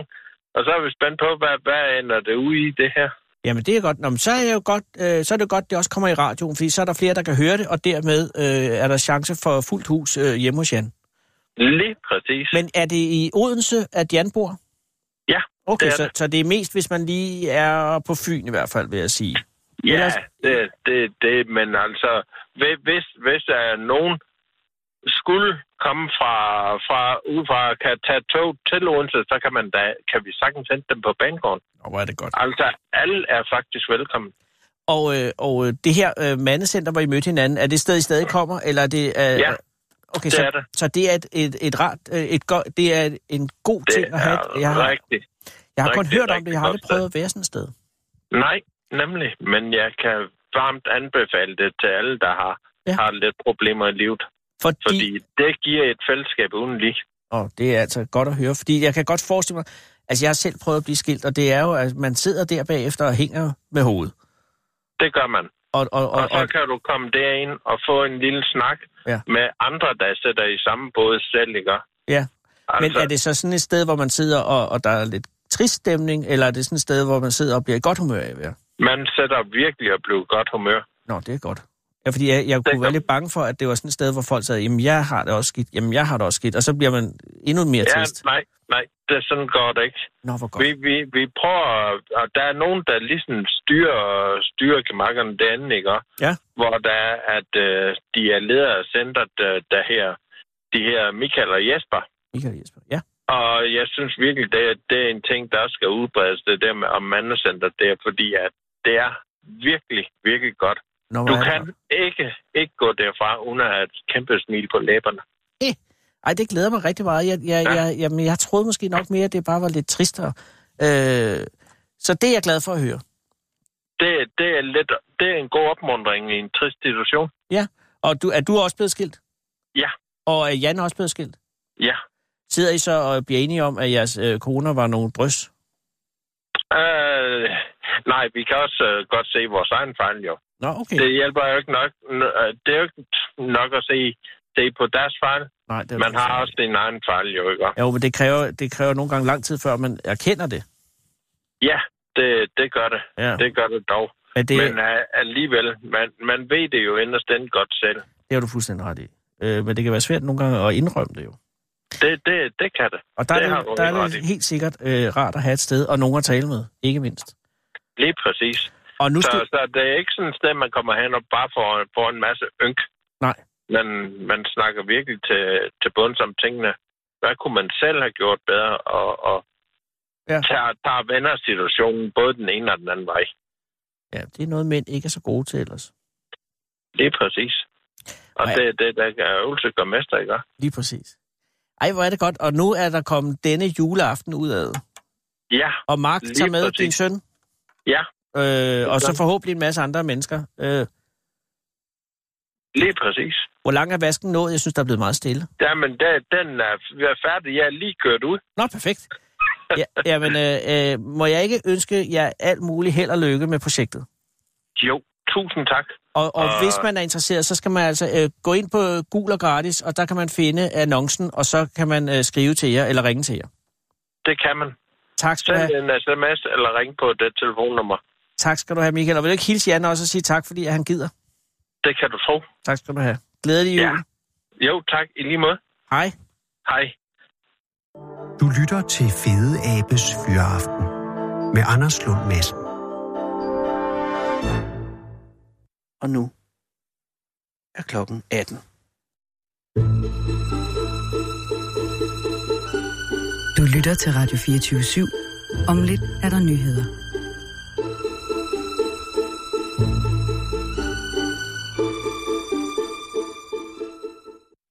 Speaker 9: og så er vi spændt på, hvad, hvad ender det ude i det her.
Speaker 5: Jamen, det er godt. Nå, men så, er jeg jo godt øh, så er det godt, det også kommer i radioen, fordi så er der flere, der kan høre det, og dermed øh, er der chance for fuldt hus øh, hjemme hos Jan.
Speaker 9: Lige præcis.
Speaker 5: Men er det i Odense, at Jan bor?
Speaker 9: Ja,
Speaker 5: Okay,
Speaker 9: det er
Speaker 5: så,
Speaker 9: det.
Speaker 5: så det er mest, hvis man lige er på Fyn i hvert fald, vil jeg sige.
Speaker 9: Ja,
Speaker 5: Ellers-
Speaker 9: det, det, det, men altså, hvi- hvis, hvis der er nogen skulle komme fra, fra udefra og kan tage tog til Odense, så kan, man da, kan vi sagtens hente dem på banegården.
Speaker 5: Nå, hvor er det godt.
Speaker 9: Altså, alle er faktisk velkommen.
Speaker 5: Og, øh, og øh, det her øh, mandecenter, hvor I mødte hinanden, er det et sted, I stadig kommer? Eller er det, øh,
Speaker 9: Ja,
Speaker 5: okay,
Speaker 9: det
Speaker 5: så,
Speaker 9: er det.
Speaker 5: Så det er et, et, et rart, øh, et go- det er et- en god
Speaker 9: Det
Speaker 5: ting at have.
Speaker 9: er
Speaker 5: Jeg har,
Speaker 9: rigtigt.
Speaker 5: jeg har kun
Speaker 9: rigtig,
Speaker 5: hørt om det,
Speaker 9: rigtig
Speaker 5: jeg har aldrig
Speaker 9: godt sted.
Speaker 5: prøvet at være sådan et sted.
Speaker 9: Nej, nemlig. Men jeg kan varmt anbefale det til alle, der har,
Speaker 5: Ja.
Speaker 9: ja. har lidt problemer i livet.
Speaker 5: Fordi,
Speaker 9: Fordi det giver et fællesskab uden lige.
Speaker 5: og det er altså godt at høre, fordi jeg kan godt forestille mig, altså jeg har selv prøvet at blive skilt, og det er jo, at man sidder der bagefter og hænger med hovedet.
Speaker 9: Det gør man.
Speaker 5: Og, og, og,
Speaker 9: Og så
Speaker 5: og,
Speaker 9: kan du komme derind og få en lille snak
Speaker 5: Ja.
Speaker 9: ja. med andre, der sidder i samme båd selv, ikke?
Speaker 5: ja.
Speaker 9: Altså,
Speaker 5: Men er det så sådan et sted, hvor man sidder, og, og der er lidt trist stemning, eller er det sådan et sted, hvor man sidder og bliver i godt humør af at være?
Speaker 9: Man sætter virkelig at blive i godt humør.
Speaker 5: Nå, det er godt. Ja, fordi jeg, jeg kunne
Speaker 9: kan-
Speaker 5: være lidt bange for, at det var sådan et sted, hvor folk sagde, jamen jeg har det også skidt, jamen jeg har det også skidt, og så bliver man endnu mere
Speaker 9: Ja,
Speaker 5: trist.
Speaker 9: nej, nej, det er sådan går det ikke.
Speaker 5: Nå, hvor godt.
Speaker 9: Vi, vi, vi prøver, at- og der er nogen, der ligesom styrer, styrer gemakkerne derinde, ikke?
Speaker 5: Ja.
Speaker 9: Hvor der er, at øh, de er ledere af centret, øh, der her, de her Michael og Jesper.
Speaker 5: Michael Jesper. Ja,
Speaker 9: Og jeg synes virkelig, det, er- det er en ting, der også skal udbredes, det der med om mandecenter, det er fordi, at det er virkelig, virkelig godt.
Speaker 5: Nå, hvor
Speaker 9: Du
Speaker 5: er det
Speaker 9: kan
Speaker 5: godt.
Speaker 9: ikke, ikke gå derfra uden at have et kæmpe smil på læberne.
Speaker 5: Ej, det glæder mig rigtig meget. Jeg, jeg,
Speaker 9: Ja.
Speaker 5: jeg, jamen, jeg troede måske nok mere, at det bare var lidt tristere. Øh, så det er jeg glad for at høre.
Speaker 9: Det, det, er, lidt, det er en god opmundring i en trist situation.
Speaker 5: Ja, og du, er du også blevet skilt?
Speaker 9: Ja.
Speaker 5: Og er Jan også blevet skilt?
Speaker 9: Ja.
Speaker 5: Sidder I så og bliver enige om, at jeres øh, koner var nogle drøs?
Speaker 9: Øh, nej, vi kan også øh, godt se vores egen fejl, jo.
Speaker 5: Nå, okay.
Speaker 9: Det hjælper jo ikke nok. n- øh, Det er jo ikke nok at se, se på deres fejl.
Speaker 5: Nej, det er
Speaker 9: Man har
Speaker 5: fuldstændig-
Speaker 9: også sin egen fejl, jo, ikke?
Speaker 5: Jo, men det kræver, det kræver nogle gange lang tid, før man erkender det.
Speaker 9: Ja, det, det gør det.
Speaker 5: Ja.
Speaker 9: Det gør det dog.
Speaker 5: Men
Speaker 9: Det...
Speaker 5: det,
Speaker 9: Men øh, alligevel, man, man ved det jo inderst den godt selv.
Speaker 5: Det har du fuldstændig ret i. Øh, men det kan være svært nogle gange at indrømme det jo.
Speaker 9: Det, det, det kan det.
Speaker 5: Og der
Speaker 9: det
Speaker 5: er
Speaker 9: har
Speaker 5: det,
Speaker 9: du
Speaker 5: der
Speaker 9: helt
Speaker 5: er
Speaker 9: ret i.
Speaker 5: det helt sikkert øh, rart at have et sted og nogen at tale med, ikke mindst.
Speaker 9: Lige præcis.
Speaker 5: Og nu
Speaker 9: Så,
Speaker 5: skal...
Speaker 9: så det er ikke sådan et sted, man kommer hen og bare får, får en masse ynk.
Speaker 5: Nej.
Speaker 9: Men man snakker virkelig til, til bunds om tingene. Hvad kunne man selv have gjort bedre? Og, og
Speaker 5: Ja.
Speaker 9: ja. tager, tager venner situationen både den ene og den anden vej.
Speaker 5: Ja, det er noget, mænd ikke er så gode til ellers.
Speaker 9: Lige præcis. Og
Speaker 5: Nej.
Speaker 9: det er det, der kan øvelse gør mester, ikke?
Speaker 5: Lige præcis. Ej, hvor er det godt. Og nu er der kommet denne juleaften ud af.
Speaker 9: Ja,
Speaker 5: Og Mark
Speaker 9: Lige
Speaker 5: tager med
Speaker 9: præcis.
Speaker 5: din søn.
Speaker 9: Ja.
Speaker 5: Øh, og så forhåbentlig en masse andre mennesker. Øh,
Speaker 9: lige præcis.
Speaker 5: hvor lang er vasken nået? Jeg synes, der er blevet meget stille.
Speaker 9: Jamen, der, den er er færdig. Jeg er lige kørt ud.
Speaker 5: Nå, perfekt. Ja, jamen, øh, øh, må jeg ikke ønske jer alt muligt held og lykke med projektet?
Speaker 9: Jo, tusind tak.
Speaker 5: Og, og
Speaker 9: Og-
Speaker 5: hvis man er interesseret, så skal man altså øh, gå ind på øh, Gul og Gratis, og der kan man finde annoncen, og så kan man øh, skrive til jer eller ringe til jer.
Speaker 9: Det kan man.
Speaker 5: Tak skal, du
Speaker 9: Send
Speaker 5: have.
Speaker 9: en sms eller ring på det telefonnummer.
Speaker 5: tak skal du have, Michael. Og vil du ikke hilse Jan også og sige tak, fordi han gider?
Speaker 9: Det kan du tro.
Speaker 5: Tak skal du have. Glædelig jul.
Speaker 9: Ja. Jo, tak. I lige måde.
Speaker 5: Hej.
Speaker 9: Hej.
Speaker 3: Du lytter til Fede Abes Fyraften med Anders Lund Madsen.
Speaker 5: Og nu er klokken 18.
Speaker 1: Du lytter til Radio 24 /7. Om lidt er der nyheder.